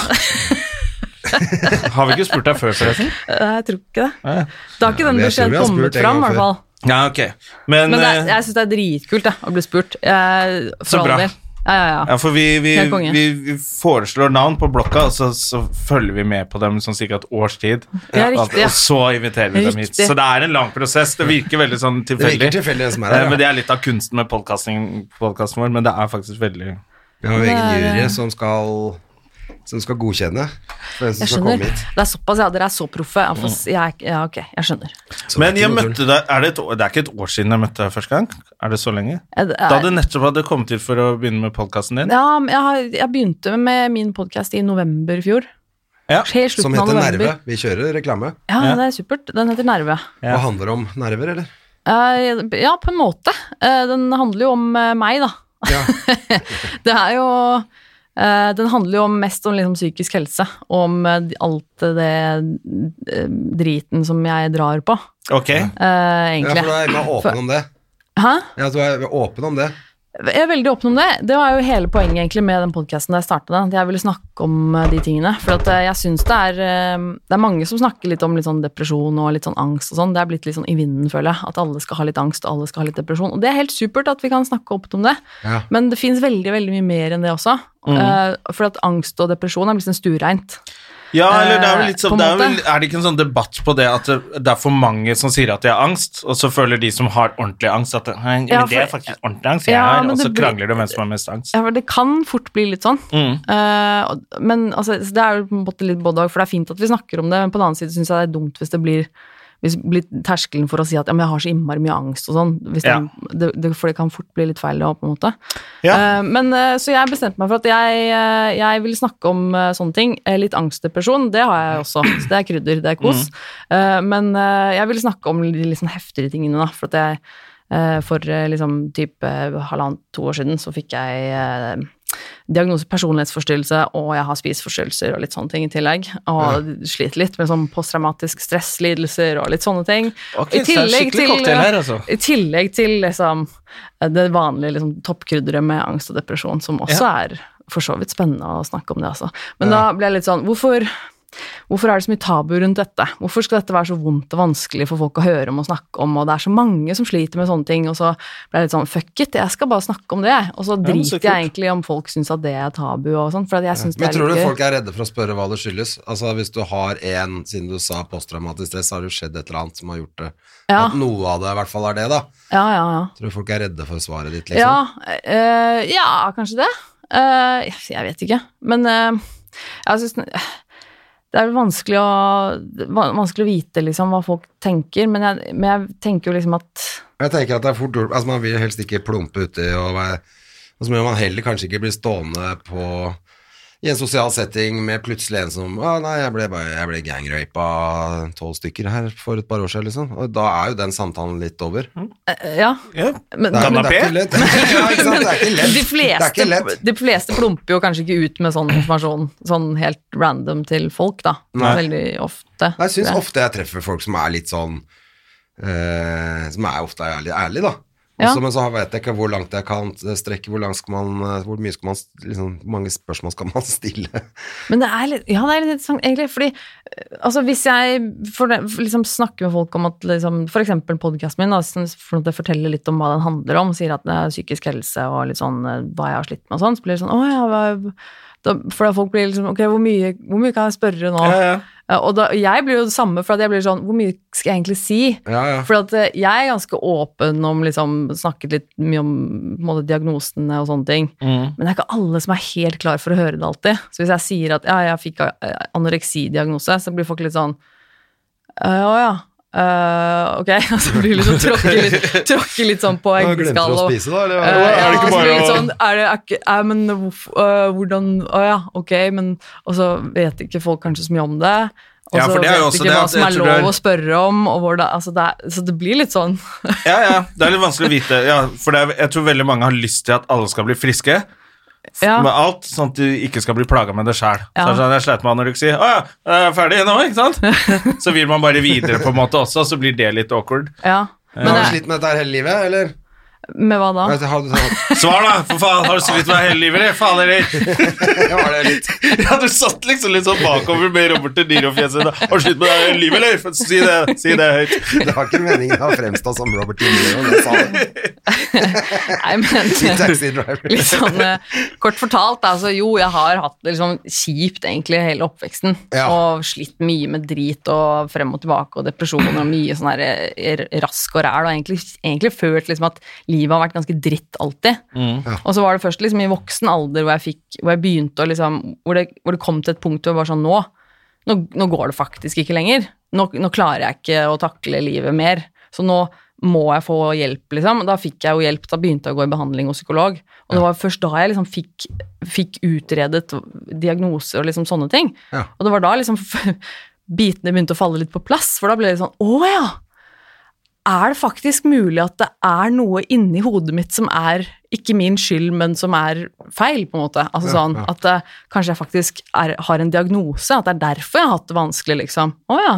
S1: Har vi ikke spurt deg før, forresten?
S3: Eh, Jeg tror ikke
S1: Ja.
S3: det. Da har ikke den
S2: men jeg tror vi
S3: beskjeden
S2: har spurt
S3: kommet
S2: en
S3: fram, i
S2: gang
S3: hvert
S2: før.
S3: fall.
S1: Ja, ok. Men,
S3: Men det, er-
S1: eh,
S3: jeg syns det er dritkult da, å bli spurt. Jeg, for
S1: Så
S3: all
S1: bra.
S3: del. Ja, ja, ja.
S1: Ja, for vi, vi,
S3: Helt konge.
S1: vi, vi foreslår navn på blokka, og så, så følger vi med på dem sånn cirka et års tid.
S3: Ja, riktig, ja.
S1: Og så inviterer vi dem hit.
S3: Riktig.
S1: Så det er en lang prosess. Det virker veldig sånn
S2: Det virker
S1: tilfeldig.
S2: tilfeldig, det som er
S1: Eh,
S2: her.
S1: Men
S2: Ja.
S1: Det er litt av kunsten med podkasten vår, men det er faktisk veldig
S2: Vi har jo egen
S3: Det er-
S2: jury som skal som skal godkjenne for den som skal
S3: Jeg skjønner.
S2: komme hit. Mm.
S3: Det er såpass, ja. Dere er så proffe. Ja, for, jeg, er- ja, ok, jeg skjønner.
S2: Så
S1: Men
S2: det er
S1: jeg
S2: ikke noe tull.
S1: møtte deg er det, et år, det er ikke et år siden jeg møtte deg første gang? Er det så lenge?
S3: Jeg, det er-
S1: Da du nettopp hadde kommet hit for å begynne med podkasten din?
S3: ja, men jeg, har- jeg begynte med min podkast i november i fjor.
S1: Ja,
S3: Helt slutten
S2: Som
S3: av
S2: heter
S3: november.
S2: Nerve. Vi kjører reklame.
S3: Ja,
S1: Ja.
S3: det er supert. Den heter Nerve.
S1: Ja.
S2: Hva handler om nerver, eller?
S3: Eh, Ja, på en måte. Eh, Den handler jo om eh, meg, da.
S2: Ja.
S3: Det er jo eh, Den handler jo om mest om liksom psykisk helse. Og om eh, alt det eh, driten som jeg drar på,
S1: Ok.
S3: eh,
S2: ja for
S3: egentlig.
S2: du er mer åpen om det.
S3: Hæ?
S2: Ja, du er åpen om det.
S3: Jeg er veldig åpen om det. Det var jo hele poenget egentlig med den podkasten da jeg startet den. at Jeg ville snakke om eh, de tingene. For at eh, jeg syns det er eh, Det er mange som snakker litt om litt sånn depresjon og litt sånn angst og sånn. Det er blitt litt sånn i vinden, føler jeg. At alle skal ha litt angst, og alle skal ha litt depresjon. Og det er helt supert at vi kan snakke åpent om det.
S2: Ja.
S3: Men det fins veldig, veldig mye mer enn det også. Eh, for at angst og depresjon er blitt sånn stureint.
S1: Ja, eller det er vel
S3: Eh,
S1: litt sånn
S3: på en
S1: det er, vel,
S3: måte.
S1: er det ikke en sånn debatt på det at det det er for mange som sier at de har angst, og så føler de som har ordentlig angst, at «Nei, men
S3: Ja,
S1: det er
S3: for-
S1: faktisk ordentlig angst jeg
S3: Ja,
S1: har,
S3: men
S1: og
S3: det
S1: så
S3: blir-
S1: krangler de om hvem som har mest angst.
S3: Ja, for det kan fort bli litt sånn.
S1: altså. Mm.
S3: Eh, og- men altså, så det er jo på en måte litt både og, for det er fint at vi snakker om det, men på den annen side syns jeg det er dumt hvis det blir hvis det blir terskelen for å si at ja, men jeg har så innmari mye angst og sånn, hvis det, det, det, for det kan fort bli litt feil. da, på en måte.
S1: Ja.
S3: Eh, men, eh, så jeg bestemte meg for at jeg, eh, jeg vil snakke om eh, sånne ting. Eh, litt angstdepresjon, det har jeg også. Så det er krydder, det er kos.
S1: Mm.
S3: Eh, men eh, jeg vil snakke om de litt sånn heftigere tingene, da. For at jeg eh, for eh, liksom typ eh, halvannet, to år siden så fikk jeg eh, diagnose personlighetsforstyrrelse, og jeg har spiseforstyrrelser og litt sånne ting i tillegg. Og sliter litt med sånn posttraumatisk stresslidelser og litt sånne ting.
S1: Ok,
S3: I
S1: så det er
S3: tillegg
S1: skikkelig
S3: til-
S1: cocktail her, altså.
S3: I tillegg til liksom det vanlige liksom, toppkrydderet med angst og depresjon, som også er for så vidt spennende å snakke om det, altså. Men da ble jeg litt sånn Hvorfor Hvorfor er det så mye tabu rundt dette? Hvorfor skal dette være så vondt og vanskelig for folk å høre om og snakke om, og det er så mange som sliter med sånne ting, og så ble jeg litt sånn fuck it, jeg skal bare snakke om det, jeg. og så
S1: men så
S3: driter
S1: kult.
S3: jeg egentlig om folk syns at det er tabu og sånn, for at jeg syns det
S2: Men
S3: er
S2: tror du
S3: litt
S2: folk er redde for å spørre hva det skyldes? Altså Hvis du har en, siden du sa posttraumatisk stress, så har det jo skjedd et eller annet som har gjort det.
S3: Ja.
S2: At noe av det i hvert fall er det, da.
S3: Ja, ja, ja.
S2: Tror du folk er redde for svaret ditt, liksom?
S3: Ja, eh, ja, kanskje det. Eh, jeg vet ikke. Men eh, jeg synes, det er vanskelig å, van- vanskelig å vite liksom, hva folk tenker, men jeg, men jeg tenker jo liksom at
S2: Jeg tenker at det er fort gjort Altså, man vil helst ikke plumpe uti og være Og så må man heller kanskje ikke bli stående på i en sosial setting med plutselig en som Å, nei, jeg ble, bare- jeg ble gangrapa tolv stykker her for et par år siden, liksom. Og da er jo den samtalen litt over.
S3: eh, Ja.
S1: Ja.
S3: Men,
S2: Det er,
S3: men,
S2: det er ikke lett. Ja, ikke sant? Det er ikke lett.
S3: de,
S2: det er ikke lett.
S3: fleste, de fleste plumper jo kanskje ikke ut med sånn informasjon sånn helt random til folk, da. Veldig ofte.
S2: Nei, Jeg syns
S3: tror jeg.
S2: ofte jeg treffer folk som er litt sånn eh, Som er ofte er litt ærlig, da.
S3: Ja.
S2: Også, Men så vet jeg ikke hvor langt jeg kan strekke, hvor langt skal man eh, Hvor mye skal man s- liksom, hvor mange spørsmål skal man stille?
S3: Men det er litt, ja, det er litt interessant, egentlig. Fordi eh, altså, hvis jeg for, for liksom, snakker med folk om at liksom, f.eks. podkasten min, da, som- for at jeg forteller litt om hva den handler om, sier at det er psykisk helse og litt sånn eh, hva jeg har slitt med og sånn, så blir det sånn Å ja, hva da, For da folk blir liksom Ok, hvor mye, hvor mye kan jeg spørre nå?
S1: Ja, ja.
S3: Eh, Og da, jeg blir jo det samme, for at jeg blir sånn Hvor mye skal jeg egentlig si?
S2: Ja, ja.
S3: For at eh, jeg er ganske åpen om liksom, Snakket litt mye om på en måte, diagnosene og sånne ting.
S2: Mm.
S3: Men det er ikke alle som er helt klar for å høre det alltid. Så hvis jeg sier at ja, jeg fikk eh, anoreksidiagnose, så blir folk litt sånn «Eh, Å ja. eh, ok, så blir det liksom tråkke litt, tråkke litt sånn på
S2: Nå Glemte
S3: eggeskall
S2: du å
S3: og
S2: spise, da? Eller?
S3: Eh,
S2: hva?
S3: ja,
S1: det ikke
S3: så blir det
S1: bare
S3: litt
S1: å-
S3: sånn, er det, er ikke, er, men hvorf- øh, hvordan, å ja, ok, men og så vet ikke folk kanskje så mye om det, og
S1: Ja,
S3: så
S1: for det er
S3: vet
S1: jo også
S3: ikke
S1: det
S3: hva
S1: at
S3: som
S1: jeg
S3: er
S1: tror
S3: lov
S1: det er-
S3: å spørre om, og hvor det, altså det er, så det blir litt sånn,
S1: Ja, ja, det er litt vanskelig å vite. Ja, for det er, jeg tror veldig mange har lyst til at alle skal bli friske
S3: ja,
S1: med alt, sånn at du ikke skal bli plaga med det sjæl.
S3: Ja.
S1: Sånn, jeg sleit med anoreksi. Å ja, jeg er ferdig nå, ikke sant? Så vil man bare videre på en måte også, og så blir det litt awkward.
S3: ja. Men eh,
S2: har du
S3: det,
S2: slitt med dette her hele livet, eller?
S3: med hva da?
S2: Jeg har- jeg
S1: Svar, da! For faen, har du slitt med hele livet, eller? Faen, eller?
S2: har det litt.
S1: Ja, du satt liksom litt sånn bakover med Robert De Niro-fjeset. da. Har du slitt med deg livet, eller? For- Si det, si det høyt.
S2: Det var ikke meningen å fremstå som Robert De Niro, det sa jeg.
S3: Nei, men...
S2: Til Taxi Driver.
S3: Litt sånn eh, kort fortalt, altså jo, jeg har hatt det liksom kjipt egentlig hele oppveksten,
S2: Ja.
S3: og slitt mye med drit og frem og tilbake og depresjon og mye sånn her eh, r- rask og ræl, og egentlig, egentlig følt liksom at livet har vært ganske dritt alltid.
S2: Mm.
S3: Og så var det først liksom i voksen alder hvor jeg, fikk, hvor jeg begynte å liksom, hvor det, hvor det kom til et punkt hvor jeg var sånn, nå, nå, nå går det faktisk ikke lenger. Nå, nå klarer jeg ikke å takle livet mer. Så nå må jeg få hjelp, liksom. Da fikk jeg jo hjelp, da begynte jeg å gå i behandling hos psykolog. Og det var først da jeg liksom fikk, fikk utredet diagnoser og liksom sånne ting.
S2: Ja.
S3: Og det var da liksom bitene begynte å falle litt på plass, for da ble det sånn Å ja! Er det faktisk mulig at det er noe inni hodet mitt som er ikke min skyld, men som er feil, på en måte? Altså sånn at eh, kanskje jeg faktisk er, har en diagnose, at det er derfor jeg har hatt det vanskelig, liksom. Å ja.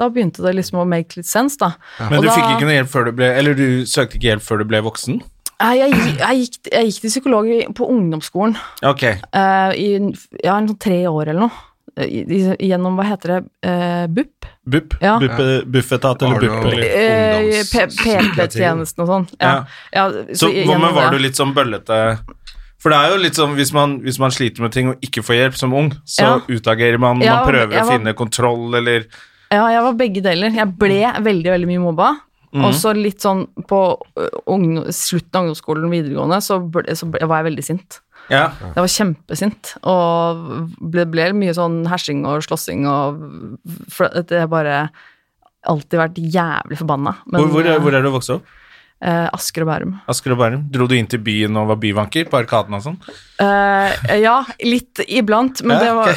S3: Da begynte det liksom å make litt sense, da.
S1: Men
S3: Og
S1: du
S3: da-
S1: fikk ikke noe hjelp før du ble Eller du søkte ikke hjelp før du ble voksen?
S3: Nei, Jeg, gi- jeg, gikk, jeg gikk til psykolog i- på ungdomsskolen
S1: Ok.
S3: eh, i en- ja, en sånn tre år eller noe. Eh, i- Gjennom, hva heter det, eh, BUP?
S1: BUP.
S3: Ja.
S4: Buppe- Buffetat eller
S2: Arne
S4: BUP.
S2: og-
S4: Eller.
S3: Eh, P-
S2: Ungdomspsykiatrien.
S3: PP-tjenesten og sånn. Ja. Ja,
S1: Så hva
S3: gjennom
S1: med var
S3: det.
S1: du litt sånn bøllete For det er jo litt sånn hvis man, hvis man sliter med ting og ikke får hjelp som ung, så
S3: Ja.
S1: utagerer man, man
S3: Ja,
S1: prøver
S3: jeg
S1: å
S3: var-
S1: finne kontroll eller
S3: Ja, jeg var begge deler. Jeg ble veldig, veldig mye mobba.
S1: Mhm.
S3: Og så litt sånn på ø, ungdom, slutten av ungdomsskolen videregående, så, ble, så ble, var jeg veldig sint.
S1: Ja.
S3: Jeg var kjempesint, og ble, ble mye sånn hersing og slåssing og For at jeg bare alltid vært jævlig forbanna. Men,
S1: Hvor, hvor, er, hvor er du vokst opp?
S3: eh, Asker og Bærum.
S1: Asker og Bærum? Dro du inn til byen og var byvanker på Arkaden og sånn?
S3: Eh, ja, litt iblant, men det var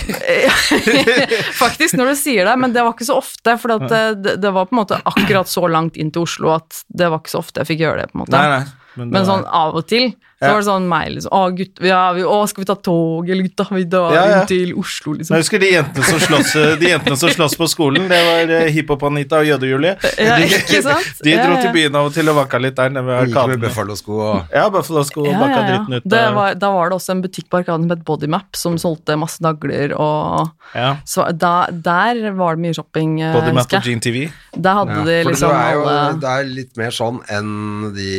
S3: Faktisk, når du sier det, men det var ikke så ofte, for at eh, det, det var på en måte akkurat så langt inn til Oslo at det var ikke så ofte jeg fikk gjøre det. på en måte.
S1: Nei, nei. det
S3: Men
S1: var-
S3: sånn av og til så
S1: Ja.
S3: var det sånn meg liksom Å, gutt, ja, vi, å, skal vi ta tog, eller gutta, vi drar
S1: Ja, ja.
S3: inn til Oslo,
S1: Men
S3: liksom.
S1: Jeg husker de jentene som slåss, eh, de jentene som slåss på skolen. Det var eh, Hiphop-Anita og Jøde-Julie.
S3: Ja, ikke sant?
S1: De
S3: Ja,
S1: dro
S3: ja.
S1: til byen av og til og vanka litt der nede
S2: Gikk
S1: ved
S2: med
S1: Arkaden.
S2: Buffalo-sko og
S1: Ja, Buffalo-sko og
S3: Ja,
S1: bakka
S3: ja,
S1: dritten ut.
S3: ja.
S1: eh,
S3: Det
S1: der.
S3: var, da var det også en butikk på Arkaden som het Bodymap, som solgte masse nagler og
S1: ja.
S3: så da, Der var det mye shopping, eh,
S1: Både Matt
S3: husker
S1: og
S3: jeg.
S1: Gene TV.
S3: Der hadde de
S2: For
S3: liksom
S2: det, er jo,
S3: alle
S2: det er litt mer sånn enn de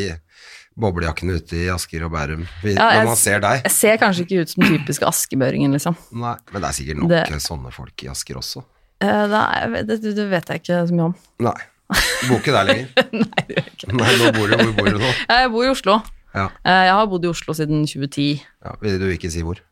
S2: boblejakkene ute i Asker og Bærum. Vi-
S3: Ja, jeg-
S2: når man ser deg.
S3: Jeg ser kanskje ikke ut som den typiske askebøringen, liksom.
S2: Nei, men det er sikkert nok
S3: Det-
S2: sånne folk i Asker også.
S3: Eh, Det, er, det, det vet jeg ikke så mye om.
S2: Nei. Du bor ikke der lenger. Nei, nå bor du, hvor bor du nå?
S3: Jeg bor i Oslo.
S2: Ja.
S3: Eh, Jeg har bodd i Oslo siden 2010.
S2: Ja, vil du ikke si hvor?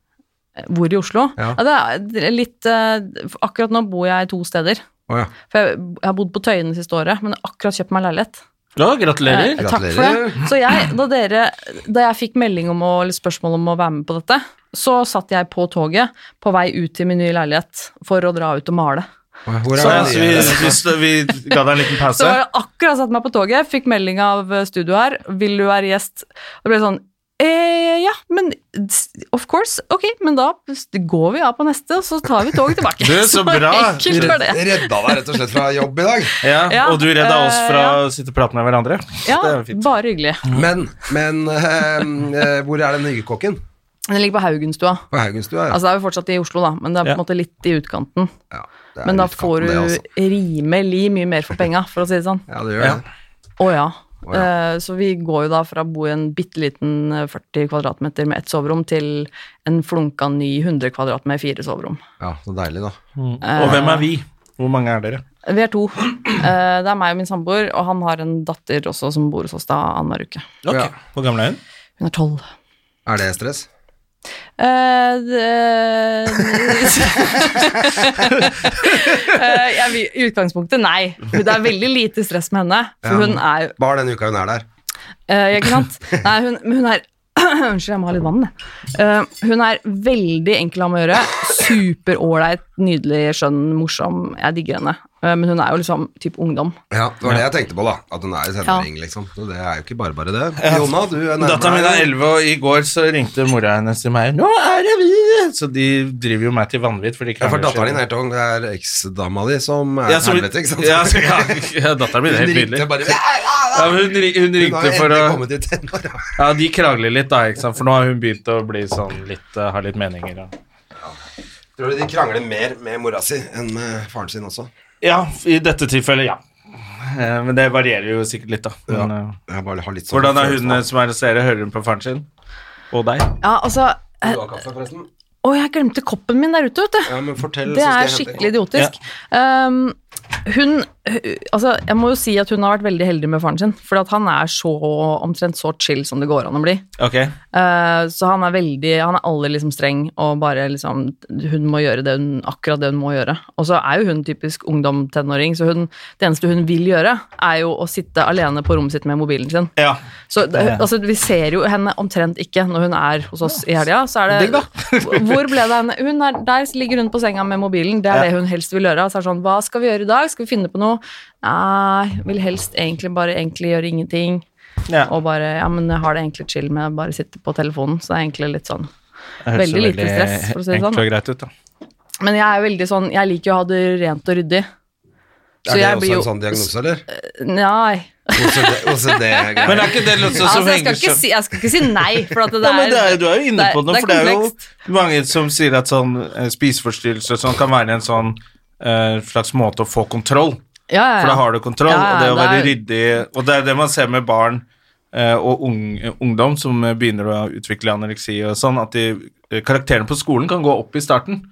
S3: Eh, Hvor i Oslo?
S2: Ja.
S3: Ja, det er litt eh, for Akkurat nå bor jeg to steder.
S2: Å ja.
S3: For jeg, jeg har bodd på Tøyen det siste året, men akkurat kjøpt meg leilighet.
S1: Ja,
S3: Eh,
S1: gratulerer.
S3: takk for
S2: Gratulerer.
S3: det. Så jeg, da, dere, da jeg fikk melding om å, eller spørsmål om å være med på dette, så satt jeg på toget på vei ut til min nye leilighet for å dra ut og male.
S2: Hvor
S1: Så, ja,
S2: er
S1: så
S2: det?
S1: vi, vi, stø- vi ga deg en liten
S3: Så
S1: pause.
S3: var det akkurat satt meg på toget, fikk melding av eh, studio her, vil du være gjest? Og det ble sånn, eh, ja, men s- of course, ok, men da s- går vi av på neste, og så tar vi toget tilbake.
S1: Du, så bra.
S3: enkelt var det.
S2: Redda deg rett og slett fra jobb i dag.
S1: Ja,
S3: Ja,
S1: og du redda oss
S3: eh,
S1: fra
S3: ja.
S1: å sitte og prate med hverandre.
S3: Ja,
S1: Det er jo fint.
S3: bare hyggelig.
S2: Men, men eh, eh, hvor er den nye kokken?
S3: Den ligger på Haugenstua.
S2: På Haugenstua? Ja.
S3: Altså, det er jo fortsatt i Oslo, da, men det er på en
S1: Ja.
S3: måte litt i utkanten.
S2: ja, det er
S3: Men da
S2: litt katten,
S3: får du
S2: det, altså.
S3: rimelig mye mer for penga, for å si det sånn.
S2: Ja, det gjør
S1: Ja.
S2: det.
S3: Å ja.
S2: ja.
S3: Eh, Så vi går jo da fra å bo i en bitte liten eh, 40 kvadratmeter med ett soverom, til en flunka ny 100 kvadrat med fire soverom.
S2: Ja, så deilig, da.
S3: Eh.
S1: Og hvem er vi? Hvor mange er dere?
S3: Vi er to. Eh, Det er meg og min samboer, og han har en datter også som bor hos oss da annenhver uke.
S1: Ok,
S2: Ja.
S1: Hvor gammel er hun?
S3: Hun er tolv.
S2: Er det stress?
S3: Eh, det- Eh, jeg vil- I utgangspunktet, nei. Det er veldig lite stress med henne. For
S2: Ja.
S3: hun er jo
S2: Bare den uka hun er der.
S3: Eh, ikke sant? Nei, hun, men hun er Unnskyld, jeg må ha litt vann. jeg. Eh, hun er veldig enkel å ha med å gjøre. Superålreit, nydelig, skjønn, morsom. Jeg digger henne. Eh, men hun er jo liksom type ungdom.
S2: Ja, Det var det jeg tenkte på, da. At hun er i tenåring, liksom. Så det er jo ikke bare bare det. Jonna, du er nærmere.
S1: Datteren min er 11, og i går så ringte mora hennes til meg. Nå er det vi! Så de driver jo meg til vanvidd. For de
S2: Ja, for
S1: krangler
S2: datteren din
S1: seg.
S2: er tong, det er eksdama di som er
S1: Ja, så-
S2: helvete, ikke sant?
S1: Ja, så- ja, ja, datteren min er helt
S2: Hun ringte
S1: nydelig.
S2: bare, «Ja, ja, ja».
S1: Ja, men hun, ri-
S2: Hun
S1: hun
S2: har
S1: ringte
S2: jo
S1: for
S2: endelig
S1: å
S2: kommet i tenåra.
S1: Ja, de krangler litt, da, ikke sant? for nå har hun begynt å bli sånn litt uh, Har litt meninger. Ja.
S2: Tror du de krangler mer med mora si enn med faren sin også?
S1: ja, i dette tilfellet, ja. Eh, Men det varierer jo sikkert litt, da. Men, eh,
S2: Jeg bare har litt sånn
S1: Hvordan er hun eh,
S2: følelse
S1: som er hos dere? Hører hun på faren sin? Og deg?
S3: Ja, altså
S2: av-
S3: eh,
S2: Du har kaffe, forresten?
S3: Å, jeg glemte koppen min der ute, vet du.
S2: Ja, men fortell,
S3: Det
S2: så skal
S3: er
S2: jeg hente.
S3: skikkelig idiotisk. Um, hun hu- Altså, jeg må jo si at hun har vært veldig heldig med faren sin. For at han er så omtrent så chill som det går an å bli.
S1: Ok.
S3: Eh, Så han er veldig Han er aldri liksom streng og bare liksom Hun må gjøre det hun, akkurat det hun må gjøre. Og så er jo hun typisk ungdom-tenåring, så hun, det eneste hun vil gjøre, er jo å sitte alene på rommet sitt med mobilen sin.
S1: Ja.
S3: Så det- altså, vi ser jo henne omtrent ikke når hun er hos oss i helga. Så er det Hvor ble det av henne? Hun er, der ligger hun på senga med mobilen, det er det hun helst vil gjøre. Og Så er det sånn Hva skal vi gjøre i dag? Skal vi finne på noe? Nei, vil helst egentlig bare egentlig gjøre ingenting.
S1: ja.
S3: Og bare, ja, men jeg har det egentlig chill med å bare sitte på telefonen, så det er egentlig litt sånn.
S1: Det høres
S3: veldig
S1: jo
S3: lite stress, for å si det
S1: enkelt
S3: sånn.
S1: og greit ut, da.
S3: Men jeg er veldig sånn, jeg liker jo å ha det rent og ryddig. Så
S2: Er det
S3: jeg
S2: også
S3: blir jo
S2: en sånn diagnose, eller?
S3: Nei.
S2: OCD, OCD
S1: Men er ikke det noe som, som
S3: Altså, jeg,
S1: henger
S3: skal ikke
S1: sammen?
S3: si, jeg skal ikke si nei, for at det
S1: Ja, men det er,
S3: der
S1: du er jo inne
S3: det er-
S1: på noe,
S3: det er
S1: for det er jo
S3: komplekst.
S1: mange som sier at sånn eh, spiseforstyrrelse og sånn kan være en sånn eh, slags måte å få kontroll.
S3: Ja, ja, ja.
S1: For da har du kontroll,
S3: Ja,
S1: og
S3: ja,
S1: det å
S3: det
S1: være
S3: er-
S1: ryddig Og det er det man ser med barn eh, og ung, eh, ungdom som eh, begynner å utvikle anoreksi og sånn, at de, eh, karakterene på skolen kan gå opp i starten.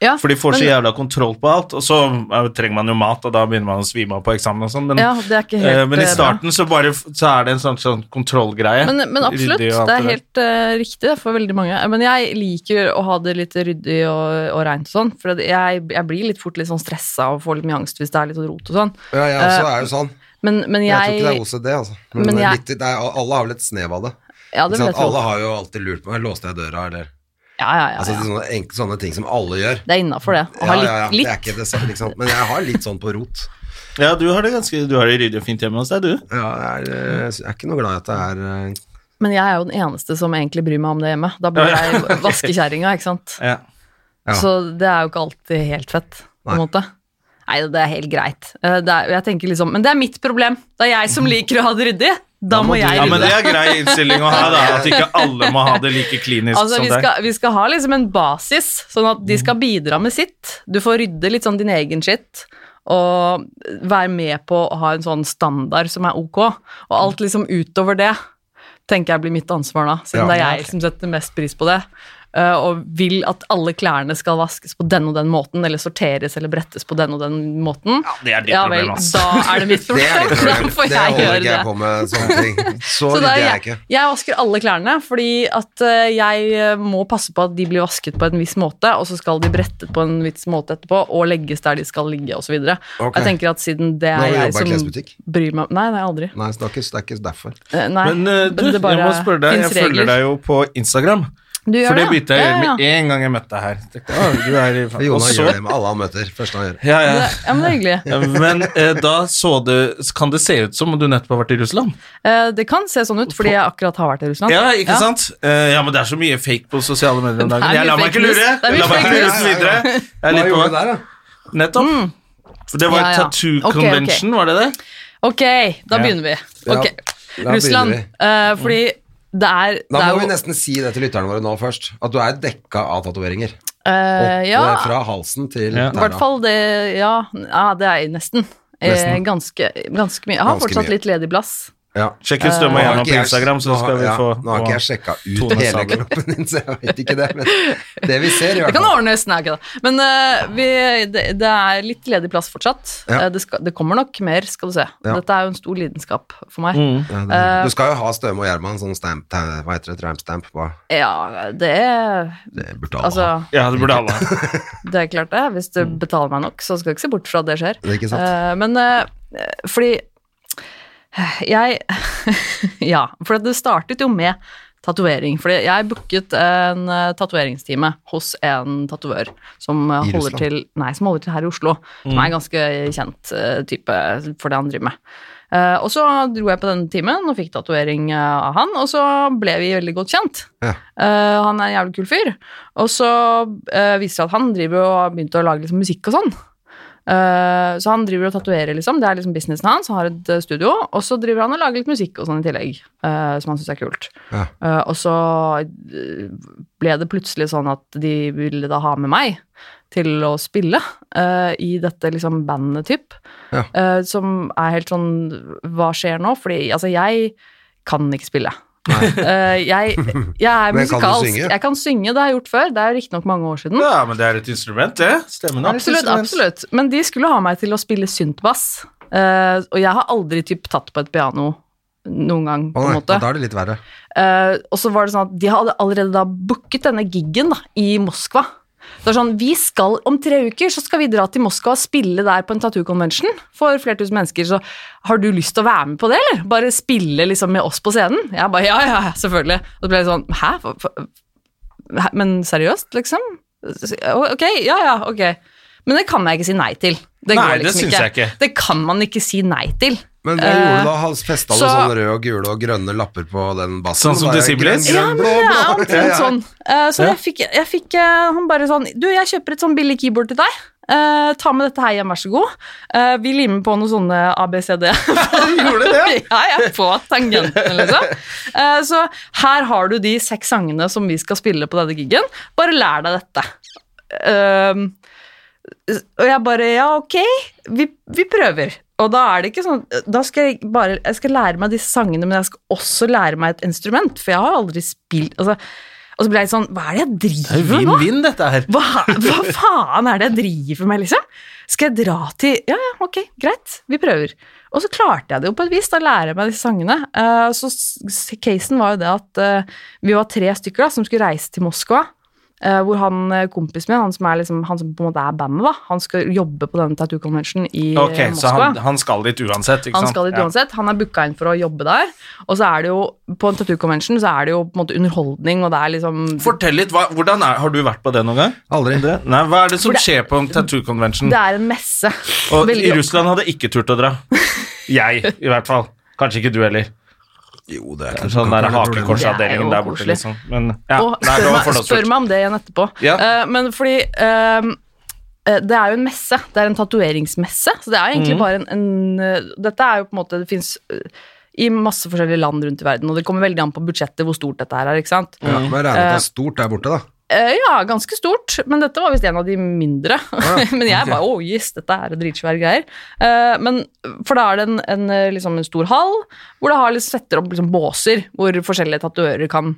S3: Ja,
S1: For de får så
S3: men-
S1: jævla kontroll på alt, og så eh, trenger man jo mat, og da begynner man å svime av på eksamen og sånn. Men,
S3: Ja, det er ikke helt,
S1: eh, men
S3: eh,
S1: i
S3: bra.
S1: starten så, bare, f- så er det en sånn, sånn kontrollgreie.
S3: Men, men absolutt,
S1: Ryddig og alt
S3: det er
S1: der.
S3: helt eh, riktig det, for veldig mange. Men jeg liker å ha det litt ryddig og, og reint og sånn, for at jeg, jeg blir litt fort litt sånn stressa og får litt mye angst hvis det er litt rot og sånn.
S2: Ja, jeg også er jo sånn.
S3: Men, men
S2: Jeg tror ikke det er
S3: jeg
S2: OCD, altså. Men,
S3: Men jeg-
S2: litt, det er, alle har vel et snev av det.
S3: Ja, det
S2: Ikke
S3: vil
S2: sant?
S3: jeg tro.
S2: alle har jo alltid lurt på Låste jeg døra, eller
S3: Ja, ja, ja.
S2: Altså
S3: ja.
S2: Sånne, enkle, sånne ting som alle gjør.
S3: Det er innafor, det. Å
S2: Ja,
S3: ha
S2: ja, ja. Det
S3: litt,
S2: er
S3: litt
S2: ikke det samme, liksom. Men jeg har litt sånn på rot.
S1: Ja, du har det ganske Du har det ryddig og fint hjemme hos deg, du.
S2: Ja, jeg, er, eh, jeg er ikke noe glad i at det er eh,
S3: Men jeg er jo den eneste som egentlig bryr meg om det hjemme. Da blir jeg vaskekjerringa, ikke sant.
S1: Ja.
S2: Ja.
S3: Så det er jo ikke alltid helt fett, på en
S2: Nei.
S3: måte. Nei, det er helt greit. Eh, Det er, jeg tenker liksom, men det er mitt problem. Det er jeg som liker å ha det ryddig. Da må jeg
S1: Ja, men
S3: rydde.
S1: det er grei innstilling å ha, da. At ikke alle må ha det like klinisk
S3: Altså,
S1: som
S3: vi,
S1: deg.
S3: skal, vi skal ha liksom en basis, sånn at de skal bidra med sitt. Du får rydde litt sånn din egen skitt, og være med på å ha en sånn standard som er ok. Og alt liksom utover det tenker jeg blir mitt ansvar da, siden
S2: Ja,
S3: det er jeg som setter mest pris på det. eh, og vil at alle klærne skal vaskes på den og den måten, eller sorteres eller brettes på den og den måten. Ja,
S1: det er ditt problem, ass.
S3: Da er det mitt
S2: Det er
S3: problem.
S2: litt
S3: da får
S2: Det
S3: jeg
S2: holder
S3: gjøre
S2: ikke
S3: det.
S2: jeg på med sånne ting. Så
S3: Så da,
S2: ryddig er jeg
S3: jeg,
S2: ikke.
S3: jeg vasker alle klærne, fordi at eh, jeg eh, må passe på at de blir vasket på en viss måte, og så skal de brettet på en viss måte etterpå, og legges der de skal ligge, osv. videre
S2: Ok.
S3: Jeg tenker at siden det
S2: har
S3: er
S2: du
S3: jeg
S2: jobbet i
S3: som
S2: klesbutikk?
S3: bryr meg Nei, nei, aldri.
S2: Nei, så det er ikke, det er ikke derfor.
S3: Eh, Nei,
S1: Men eh, du,
S3: det bare
S1: jeg må spørre deg, jeg
S3: finnes regler.
S1: følger deg jo på Instagram.
S3: Du gjør
S1: For det begynte jeg å
S3: Ja,
S1: gjøre
S3: ja,
S1: med en gang jeg møtte deg her. Tenkte, ah, du er i, faen. Og
S2: Jonas
S1: så,
S2: gjør det med alle han møter. Første han gjør.
S1: ja,
S3: ja.
S1: ja.
S3: Det- ja, men det er hyggelig.
S1: Men eh, da så det, kan det se ut som om du nettopp har vært i Russland.
S3: Eh, Det kan se sånn ut, fordi jeg akkurat har vært i Russland.
S1: Ja, ikke sant? Eh, ja, men det er så mye fake på sosiale medier om
S3: Det er
S1: dagen. Jeg
S3: mye
S1: lar meg
S3: fake
S1: ikke lure.
S3: news. Det er mye
S1: Jeg lar meg
S3: fake
S1: ikke lure
S3: news.
S1: så videre. Jeg er
S2: Hva
S1: litt
S2: gjorde du
S1: på
S2: der, da?
S1: Nettopp. For det var
S3: Mm. Ja, ja.
S1: tattoo
S3: Ok, ok.
S1: convention, var det det?
S3: Ok, da
S1: Ja.
S3: begynner vi.
S2: Ja,
S3: Ok,
S2: begynner
S3: Russland.
S2: vi.
S3: eh, Fordi det er, det
S2: Da
S3: er
S2: må vi
S3: jo
S2: nesten si det til lytterne våre nå først, at du er dekka av tatoveringer.
S3: eh, ja.
S2: Fra halsen til
S1: Ja.
S2: tærne.
S3: I hvert fall det Ja, ja det er jeg nesten. Eh,
S2: Nesten.
S3: ganske, ganske mye. Jeg har
S2: Ganske
S3: fortsatt
S2: mye.
S3: litt ledig plass.
S2: Ja.
S1: Sjekk
S2: Eh, Nå
S1: ut Stømme
S2: har
S1: gjennom
S2: ikke
S1: på
S2: jeg-
S1: Instagram, så
S2: nå har-
S1: skal vi
S2: ja,
S1: få
S2: Nå har ikke jeg
S1: få-
S2: sjekka
S1: Tone
S2: ut hele
S1: sammen.
S2: kroppen din, så jeg vet ikke det, men det vi ser i
S3: Det
S2: hvert
S3: kan
S2: fall
S3: ordnes, nei, ikke det. Men eh, vi, det, det er litt ledig plass fortsatt.
S2: Ja.
S3: Eh, det, skal, det kommer nok mer, skal du se.
S2: Ja. Mm.
S3: Dette er jo en stor lidenskap for meg.
S2: ja, det, Du skal jo ha Støme og Gjerman, sånn stamp, ta- hva heter det, tramp-stamp på
S3: Ja, det er
S2: Det burde alle
S3: Altså,
S2: ha.
S1: Ja, det burde alle ha.
S3: det er klart det. Hvis du
S2: Mm.
S3: betaler meg nok, så skal du ikke se bort fra at det skjer.
S2: Det er ikke sant?
S3: Eh, men eh, fordi jeg Ja, for det startet jo med tatovering. Fordi jeg booket en eh, tatoveringstime hos en tatovør som, eh,
S2: I
S3: holder
S2: Russland?
S3: til- nei, som holder til her i Oslo. Som er en ganske kjent eh, type for det han driver med. Eh, og så dro jeg på den timen og fikk tatovering eh, av han, og så ble vi veldig godt kjent.
S2: Ja.
S3: Eh, han er en jævlig kul fyr. Og så eh, viser det seg at han driver og har begynt å lage liksom, musikk og sånn. Eh, så han driver og tatoverer, liksom. Det er liksom businessen hans. Han har et eh, studio. Og så driver han og lager litt musikk og sånn i tillegg, eh, som han syns er kult.
S2: Ja.
S3: Eh, og så eh, ble det plutselig sånn at de ville da ha med meg til å spille eh, i dette liksom bandet typ.
S2: Ja.
S3: Eh, som er helt sånn Hva skjer nå? Fordi altså, jeg kan ikke spille. Eh, jeg, jeg er
S2: Men kan du
S3: musikalsk.
S2: synge?
S3: jeg kan synge, det har jeg gjort før. Det er riktignok mange år siden.
S1: Ja, men det er et instrument, det. Stemmen er et
S3: Absolutt,
S1: instrument.
S3: absolutt. Men de skulle ha meg til å spille syntbass. Eh, og jeg har aldri typ tatt på et piano noen gang, på
S2: Å
S3: en
S2: nei,
S3: måte.
S2: Da er det litt verre.
S3: Eh, og så var det sånn at de hadde allerede da booket denne giggen da, i Moskva. Det var sånn, vi skal, Om tre uker så skal vi dra til Moskva og spille der på en tattoo convention for flere tusen mennesker. Så har du lyst til å være med på det, eller? Bare spille liksom med oss på scenen? Jeg bare, ja, ja, ja, selvfølgelig. Og så ble jeg sånn, hæ? Hva- hva- Hæ? Men seriøst, liksom? Ok, ja, ja, ok. Men det kan jeg ikke si nei til. Det
S1: Nei,
S3: går
S1: det
S3: liksom
S1: syns jeg ikke.
S3: Det kan man ikke si nei til.
S2: Men hva
S3: Eh,
S2: gjorde du da? Han Festa du
S3: så-
S2: sånne røde og gule og grønne lapper på den bassen?
S1: Sånn som
S2: Da er det
S1: Disciples?
S2: grønn,
S3: Ja,
S2: grønn,
S3: men det
S2: blå,
S3: er
S2: blå.
S3: omtrent
S2: Ja, ja.
S3: sånn. Eh, så
S1: Ja.
S3: jeg fikk, jeg fikk eh, han bare sånn Du, jeg kjøper et sånn billig keyboard til deg. Eh, Eh, ta med dette her hjem, vær så god. Eh, vi limer på noen sånne ABCD.
S2: Gjorde det?
S3: ja, jeg er på tangenten, liksom. Eh, så her har du de seks sangene som vi skal spille på denne giggen. Bare lær deg dette. Ehm, og jeg bare Ja, ok, vi, vi prøver. Og da er det ikke sånn Da skal jeg bare Jeg skal lære meg disse sangene, men jeg skal også lære meg et instrument, for jeg har aldri spilt altså, Og så ble jeg litt sånn Hva er det jeg
S1: Det er
S3: driver med nå?
S1: Vinn-vinn, dette her.
S3: Hva, hva faen er det jeg driver med, liksom? Skal jeg dra til Ja, ja, ok, greit, vi prøver. Og så klarte jeg det jo på et vis, da lærer jeg meg disse sangene. Eh, så s- s- casen var jo det at eh, vi var tre stykker da, som skulle reise til Moskva. eh, hvor han eh, kompisen min, han som, er liksom, han som på en måte er bandet, da, han skal jobbe på denne tattoo convention i eh,
S1: Ok,
S3: Moskva.
S1: så han, han skal dit uansett, ikke
S3: Han
S1: sant?
S3: skal dit
S1: Ja.
S3: uansett. Han er booka inn for å jobbe der. Og så er det jo, på en tattoo convention, så er det jo på en måte underholdning, og det er liksom
S1: Fortell litt, hva, hvordan er, Har du vært på det noen gang?
S2: Aldri.
S1: Det? Nei, Hva er det som skjer på en tattoo convention?
S3: Det er en messe.
S1: Og
S3: Veldig-
S1: I Russland hadde jeg ikke turt å dra. Jeg, i hvert fall. Kanskje ikke du heller.
S2: Jo, det er ikke
S1: Sånn der
S2: noe problem.
S3: Det er jo
S1: hakekorsavdelingen der borte,
S3: koselig.
S1: liksom. Men ja,
S3: og
S1: nei, det
S3: spør,
S1: var
S3: meg, spør
S1: fordomsfullt.
S3: meg om det igjen etterpå.
S1: Ja.
S3: Eh, men fordi eh, eh, det er jo en messe. Det er en tatoveringsmesse. Så det er egentlig
S1: Mm.
S3: bare en, en eh, Dette er jo på en måte Det fins i masse forskjellige land rundt i verden, og det kommer veldig an på budsjettet hvor stort dette her er. ikke sant?
S2: Ja, men jeg regner med at det er stort der borte, da.
S3: Eh, ja, ganske stort, men dette var visst en av de mindre. men jeg bare oh yes, dette er dritsvære greier. Eh, men, for da er det en, en, eh, liksom en stor hall hvor det har, liksom, setter opp liksom, båser hvor forskjellige tatoverer kan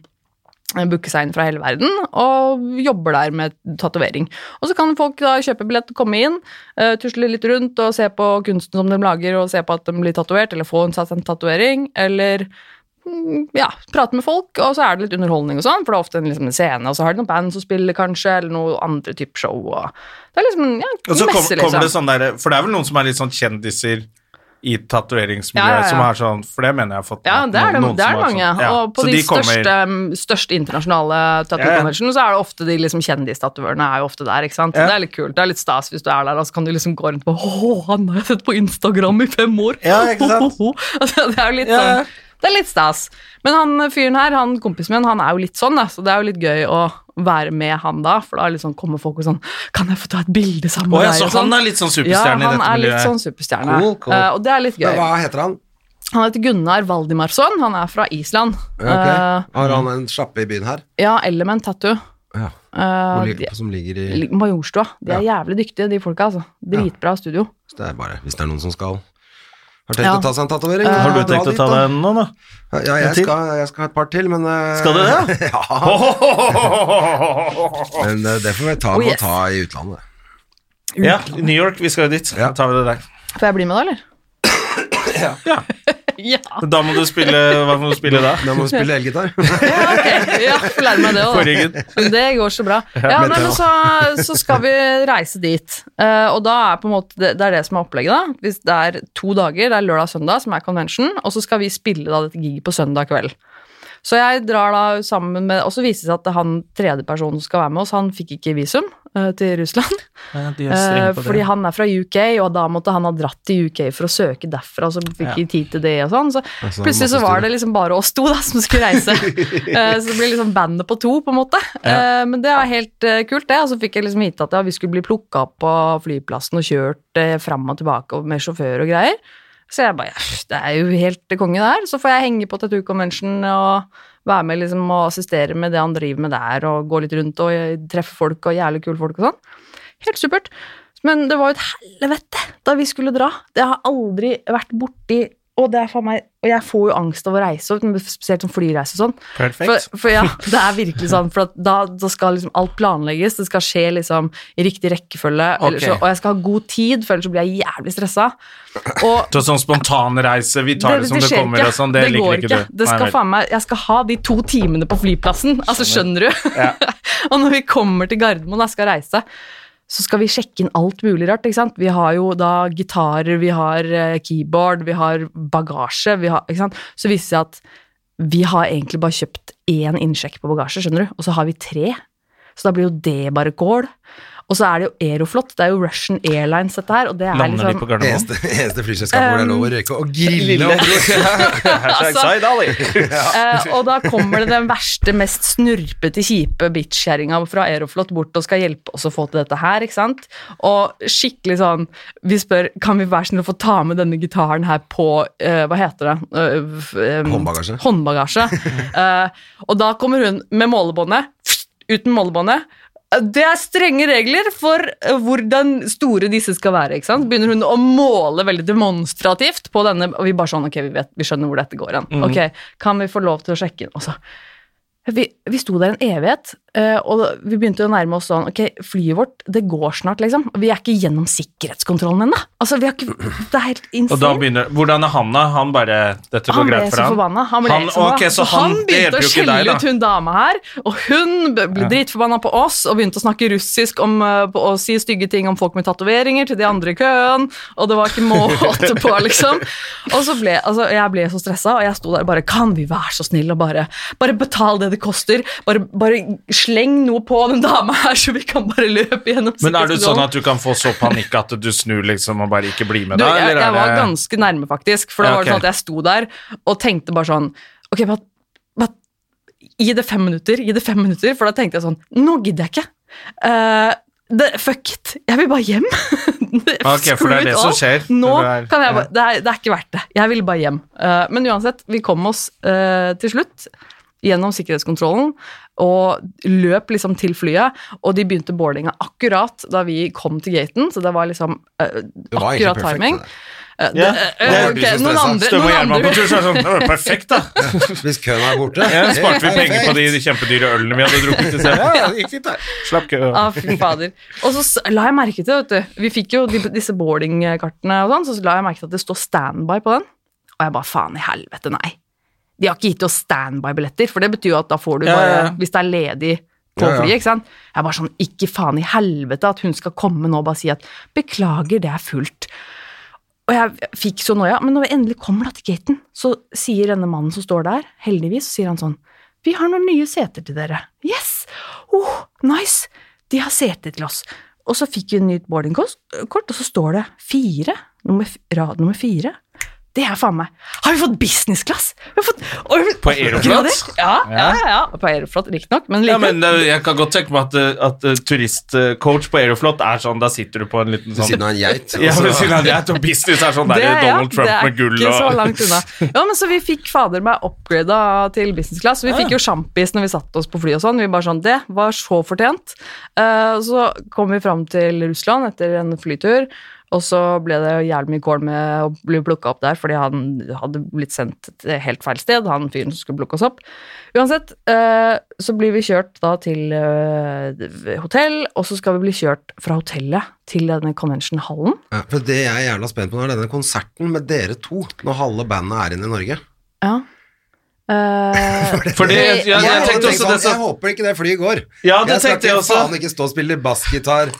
S3: eh, booke seg inn fra hele verden og jobber der med tatovering. Og så kan folk da kjøpe billett og komme inn, eh, tusle litt rundt og se på kunsten som de lager, og se på at de blir tatovert, eller få en satt en tatovering, eller mm, ja, prate med folk, og så er det litt underholdning og sånn, for det er ofte en, liksom, en scene, og så har de noen band som spiller kanskje, eller noe andre type show, og det er liksom en ja,
S1: Og så
S3: en
S1: kommer,
S3: messe, liksom.
S1: kommer det sånn der, For det er vel noen som er litt sånn kjendiser i tatoveringsmiljøet,
S3: Ja, ja, ja.
S1: som er sånn For det mener jeg har fått
S3: Ja,
S1: med
S3: det er,
S1: at
S3: det,
S1: noen- noen
S3: det
S1: som
S3: er mange.
S1: sånn, ja.
S3: Og på
S1: Så
S3: de,
S1: kommer-
S3: største, um, største internasjonale
S1: Ja, ja.
S3: tattoo-conventionene så er det ofte de liksom, kjendistatovørene er jo ofte der. ikke sant? Så
S1: Ja.
S3: Det er litt kult. Det er litt stas hvis du er der, og så kan du liksom gå rundt på Å, han har jeg sett på Instagram i fem år!
S1: Ja, ikke sant?
S3: altså, det er jo litt
S1: Ja, ja.
S3: sånn Det er litt stas. Men han fyren her, han kompisen min, han er jo litt sånn, da, så det er jo litt gøy å være med han da, for da liksom kommer folk og sånn Kan jeg få ta et bilde sammen
S1: Å
S3: med
S1: ja,
S3: deg?
S1: så
S3: og sånn.
S1: han er litt sånn
S3: ja,
S1: superstjerne i
S3: han
S1: dette
S3: er litt
S1: miljøet.
S3: sånn superstjerne.
S1: Cool, cool.
S3: Eh, og det er litt gøy.
S2: Men hva heter han?
S3: Han heter Gunnar Valdimarsson, han er fra Island.
S2: Ok.
S3: Eh,
S2: Har han en sjappe i byen her?
S3: ja, Element Tattoo.
S2: Ja.
S3: Eh,
S2: Hvor
S3: de,
S2: ligger, som ligger i
S3: li- Majorstua. De er jævlig dyktige, de folka. altså. Dritbra studio.
S2: Så Det er bare hvis det er noen som skal Har tenkt
S3: Ja. Eh,
S2: å ta seg en tatovering.
S1: Har du
S2: dra
S1: tenkt å
S2: dit,
S1: ta
S2: da.
S1: den nå, da?
S2: Ja,
S1: en
S2: jeg
S1: til?
S2: skal, jeg skal ha et par til, men eh,
S1: Skal du det?
S2: Ja, men eh, det får vi ta
S3: Oh,
S2: med
S3: yes.
S2: å ta i utlandet.
S1: Ja, New York, vi skal jo dit.
S2: Ja.
S1: Da tar vi det der.
S3: Får jeg bli med da, eller?
S1: Ja.
S3: ja.
S1: Da må du spille Hva må du spille da?
S2: Da må du spille elgitar.
S3: ja, ok. Ja, får lære meg det
S1: På
S3: òg, da.
S1: ryggen.
S3: Men Det går så bra. Ja, nei, men så, så skal vi reise dit. Eh, og da er på en måte, det, det er det som er opplegget. da. Hvis det er to dager, det er lørdag og søndag, som er convention, og så skal vi spille da dette giget på søndag kveld. Så jeg drar da sammen med, og så viser det seg at han tredje personen som skal være med oss, han fikk ikke visum eh, til Russland. Eh, fordi han er fra UK, og da måtte han ha dratt til UK for å søke derfra, og så fikk
S1: Ja.
S3: de tid til det og sånn. Så
S2: Altså,
S3: plutselig så
S2: masse
S3: var
S2: styr.
S3: det liksom bare oss to da, som skulle reise. Eh, så det ble liksom bandet på to, på en måte. Eh, men det var helt eh, kult, det. Og så fikk jeg liksom vite at ja, vi skulle bli plukka opp på flyplassen og kjørt uh, fram og tilbake og med sjåfør og greier. Så jeg bare "Jøss, Det er jo helt konge, det her. Så får jeg henge på Tattoo Convention og være med liksom og assistere med det han driver med der, og gå litt rundt og eh, treffe folk og jævlig kule folk og sånn. Helt supert. Men det var jo et helvete da vi skulle dra. Det har aldri vært borti og, det er for meg, og jeg får jo angst av å reise, og spesielt som flyreise og sånn.
S1: Perfekt.
S3: For, for ja, det er virkelig sånn, for at da, da skal liksom alt planlegges, det skal skje liksom i riktig rekkefølge, eller
S1: Ok.
S3: så, og jeg skal ha god tid, for ellers så blir jeg jævlig stressa. Og
S1: Så sånn spontanreise, vi tar det, som det,
S3: skjer
S1: kommer og sånn, det, liker ikke du. Nei,
S3: Det skal
S1: vel. sånn,
S3: faen meg, jeg skal ha de to timene på flyplassen, altså skjønner du?
S1: Ja.
S3: og når vi kommer til Gardermoen og jeg skal reise, så skal vi sjekke inn alt mulig rart, ikke sant? Vi har jo da gitarer, vi har eh, keyboard, vi har bagasje, vi har, ikke sant? Så viser det seg at vi har egentlig bare kjøpt én innsjekk på bagasje, skjønner du? Og så har vi tre. Så da blir jo det bare kål. Og så er det jo Aeroflot, det er jo Russian Airlines dette her, og det er
S1: Lander de på
S3: liksom
S1: Gardermoen?
S2: Eneste, eneste flyselskapet hvor det er
S3: Um,
S2: lov å røyke og grille. og-
S3: Altså-
S1: Hashtag Zaid Ali.
S3: Eh, og da kommer det den verste, mest snurpete, kjipe bitchkjerringa fra Aeroflot bort og skal hjelpe oss å få til dette her, ikke sant? Og skikkelig sånn Vi spør kan vi være snill å få ta med denne gitaren her på eh, Hva heter det? Eh, f- eh,
S2: Håndbagasje.
S3: håndbagasje. Eh, og da kommer hun med målebåndet. Uten målebåndet. Eh, Det er strenge regler for eh, hvordan store disse skal være. ikke sant? Begynner hun å måle veldig demonstrativt på denne, og vi bare sånn Ok, vi, vet, vi skjønner hvor dette går hen.
S1: Mm.
S3: Ok, Kan vi få lov til å sjekke inn? Og så vi, vi sto der en evighet, eh, og vi begynte å nærme oss sånn Ok, flyet vårt, det går snart, liksom. Vi er ikke gjennom sikkerhetskontrollen ennå. Altså, vi har ikke Det er helt
S1: Og da
S3: insane.
S1: begynner Hvordan er han, da? Han bare Dette går
S3: Han ble
S1: greit for
S3: så
S1: han.
S3: forbanna. Han, ble
S1: Han-
S3: så forbanna.
S1: ok, så
S3: så han
S1: han- det
S3: begynte
S1: hjelper
S3: å
S1: jo ikke deg,
S3: skjelle
S1: da.
S3: ut hun dama her, og hun b- ble dritforbanna på oss og begynte å snakke russisk om eh, på- å si stygge ting om folk med tatoveringer til de andre i køen, og det var ikke måte på, liksom. Og så ble altså, jeg ble så stressa, og jeg sto der og bare Kan vi være så snill og bare Bare betal det det koster, bare, bare sleng noe på den dama her, så vi kan bare løpe gjennom
S1: Men er du sånn
S3: sikkerhetskontrollen.»
S1: at du kan få så panikk at du snur liksom og bare ikke blir med
S3: Du,
S1: da?
S3: jeg,
S1: eller er
S3: jeg var
S1: det-
S3: ganske nærme, faktisk. For da
S1: Ja,
S3: var det
S1: ok.
S3: sånn at jeg sto der og tenkte bare sånn Ok, bare, bare gi det fem minutter, gi det fem minutter. For da tenkte jeg sånn Nå gidder jeg ikke. Eh, det, fuck it. Jeg vil bare hjem.
S1: Ok, for det er det som skjer.
S3: Nå
S1: Det er-
S3: kan jeg
S1: ja.
S3: bare det er, det er ikke verdt det. Jeg ville bare hjem. Eh, men uansett, vi kom oss eh, til slutt gjennom sikkerhetskontrollen og løp liksom til flyet. Og de begynte boardinga akkurat da vi kom til gaten, så det var liksom eh,
S2: Det var egentlig
S3: akkurat
S2: perfekt,
S3: timing.
S2: det der.
S3: Eh,
S1: Ja,
S3: det-
S1: det
S3: eh,
S2: var
S3: ok,
S2: de som
S3: Noen
S2: stressa.
S3: andre,
S1: Støm og
S3: noen
S1: hjelm på
S3: andre.
S1: tur, så er det sånn «Å, Perfekt, da!
S2: Hvis køen er borte.
S1: Ja, sparte vi
S2: Helt
S1: penger på
S2: perfekt.
S1: de kjempedyre ølene vi hadde drukket i
S2: Ja,
S1: stedet.
S2: ja, det gikk fint, det.
S1: Slapp kø.
S3: Ah, fy fader. Og så s- la jeg merke til, vet du Vi fikk jo de, disse boardingkartene og sånn, så la jeg merke til at det står standby på den. Og jeg bare faen i helvete, nei. De har ikke gitt oss standby-billetter, for det betyr jo at da får du
S1: Ja,
S3: bare
S1: ja, ja.
S3: Hvis det er ledig på
S2: Ja, ja.
S3: flyet, ikke sant. Jeg er bare sånn Ikke faen i helvete at hun skal komme nå og bare si at beklager, det er fullt. Og jeg fikk så noia, men når vi endelig kommer da til gaten, så sier denne mannen som står der, heldigvis, så sier han sånn Vi har noen nye seter til dere. Yes! Oh, nice! De har seter til oss. Og så fikk vi en nytt boardingkort, og så står det fire, nummer, f- rad nummer fire. Det er faen meg Har vi fått business class? Vi har fått, Oi,
S1: På Aeroflot?
S3: Ja, ja, ja, ja. På Aeroflot, riktignok, men
S1: Ja,
S3: likevel.
S1: men eh, jeg kan godt tenke meg at, eh, at eh, turistcoach på Aeroflot er sånn, da sitter du på en liten
S2: Ved
S1: sånn
S2: siden av en geit. altså.
S1: Ja,
S2: og
S1: men
S2: så-
S1: siden han er til business, er sånn der
S3: Det, ja,
S1: Donald Trump
S3: det er
S1: med gull
S3: ikke så
S1: og
S3: langt unna. Ja, men så vi fikk fader meg upgrada til business class. Vi fikk jo sjampis når vi satte oss på fly og sånn. Vi bare sånn, Det var så fortjent. Eh, og så kom vi fram til Russland etter en flytur. Og så ble det jævlig mye kål med å bli plukka opp der, fordi han hadde blitt sendt til helt feil sted, han fyren som skulle plukke oss opp. Uansett, eh, så blir vi kjørt da til eh, hotell, og så skal vi bli kjørt fra hotellet til denne convention-hallen.
S2: Ja, for det jeg er jævla spent på nå, er denne konserten med dere to, når halve bandet er inne i Norge.
S3: Ja. Eh,
S1: For det, jeg, jeg, jeg
S2: hadde tenkt
S1: tenkte også
S2: sånn,
S1: det som
S2: jeg håper ikke det flyet går.
S1: Ja, det
S2: jeg skal
S1: tenkte jeg
S2: ikke
S1: også.
S2: faen ikke stå og spille bassgitar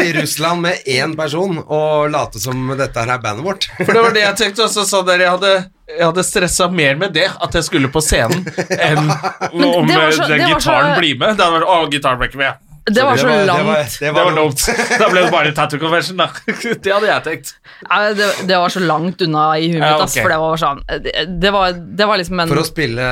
S2: i Russland med én person og late som dette her er bandet vårt.
S1: For det var det jeg tenkte også, sånn der jeg hadde jeg hadde stressa mer med det, at jeg skulle på scenen, enn om
S3: det var
S1: eh,
S3: så-
S1: den
S3: det var så-
S1: gitaren blir med. Det hadde vært, å, gitaren ble ikke med.
S3: det var så
S2: Det var-
S3: langt.
S2: det var-
S1: Det var dumt. Da ble det bare tattoo convention, da. Det hadde jeg tenkt.
S3: Nei, det, det var så langt unna i huet mitt,
S1: Ja,
S3: ass,
S1: ok.
S3: for det var sånn Det, det, var, det var liksom en
S2: For å spille,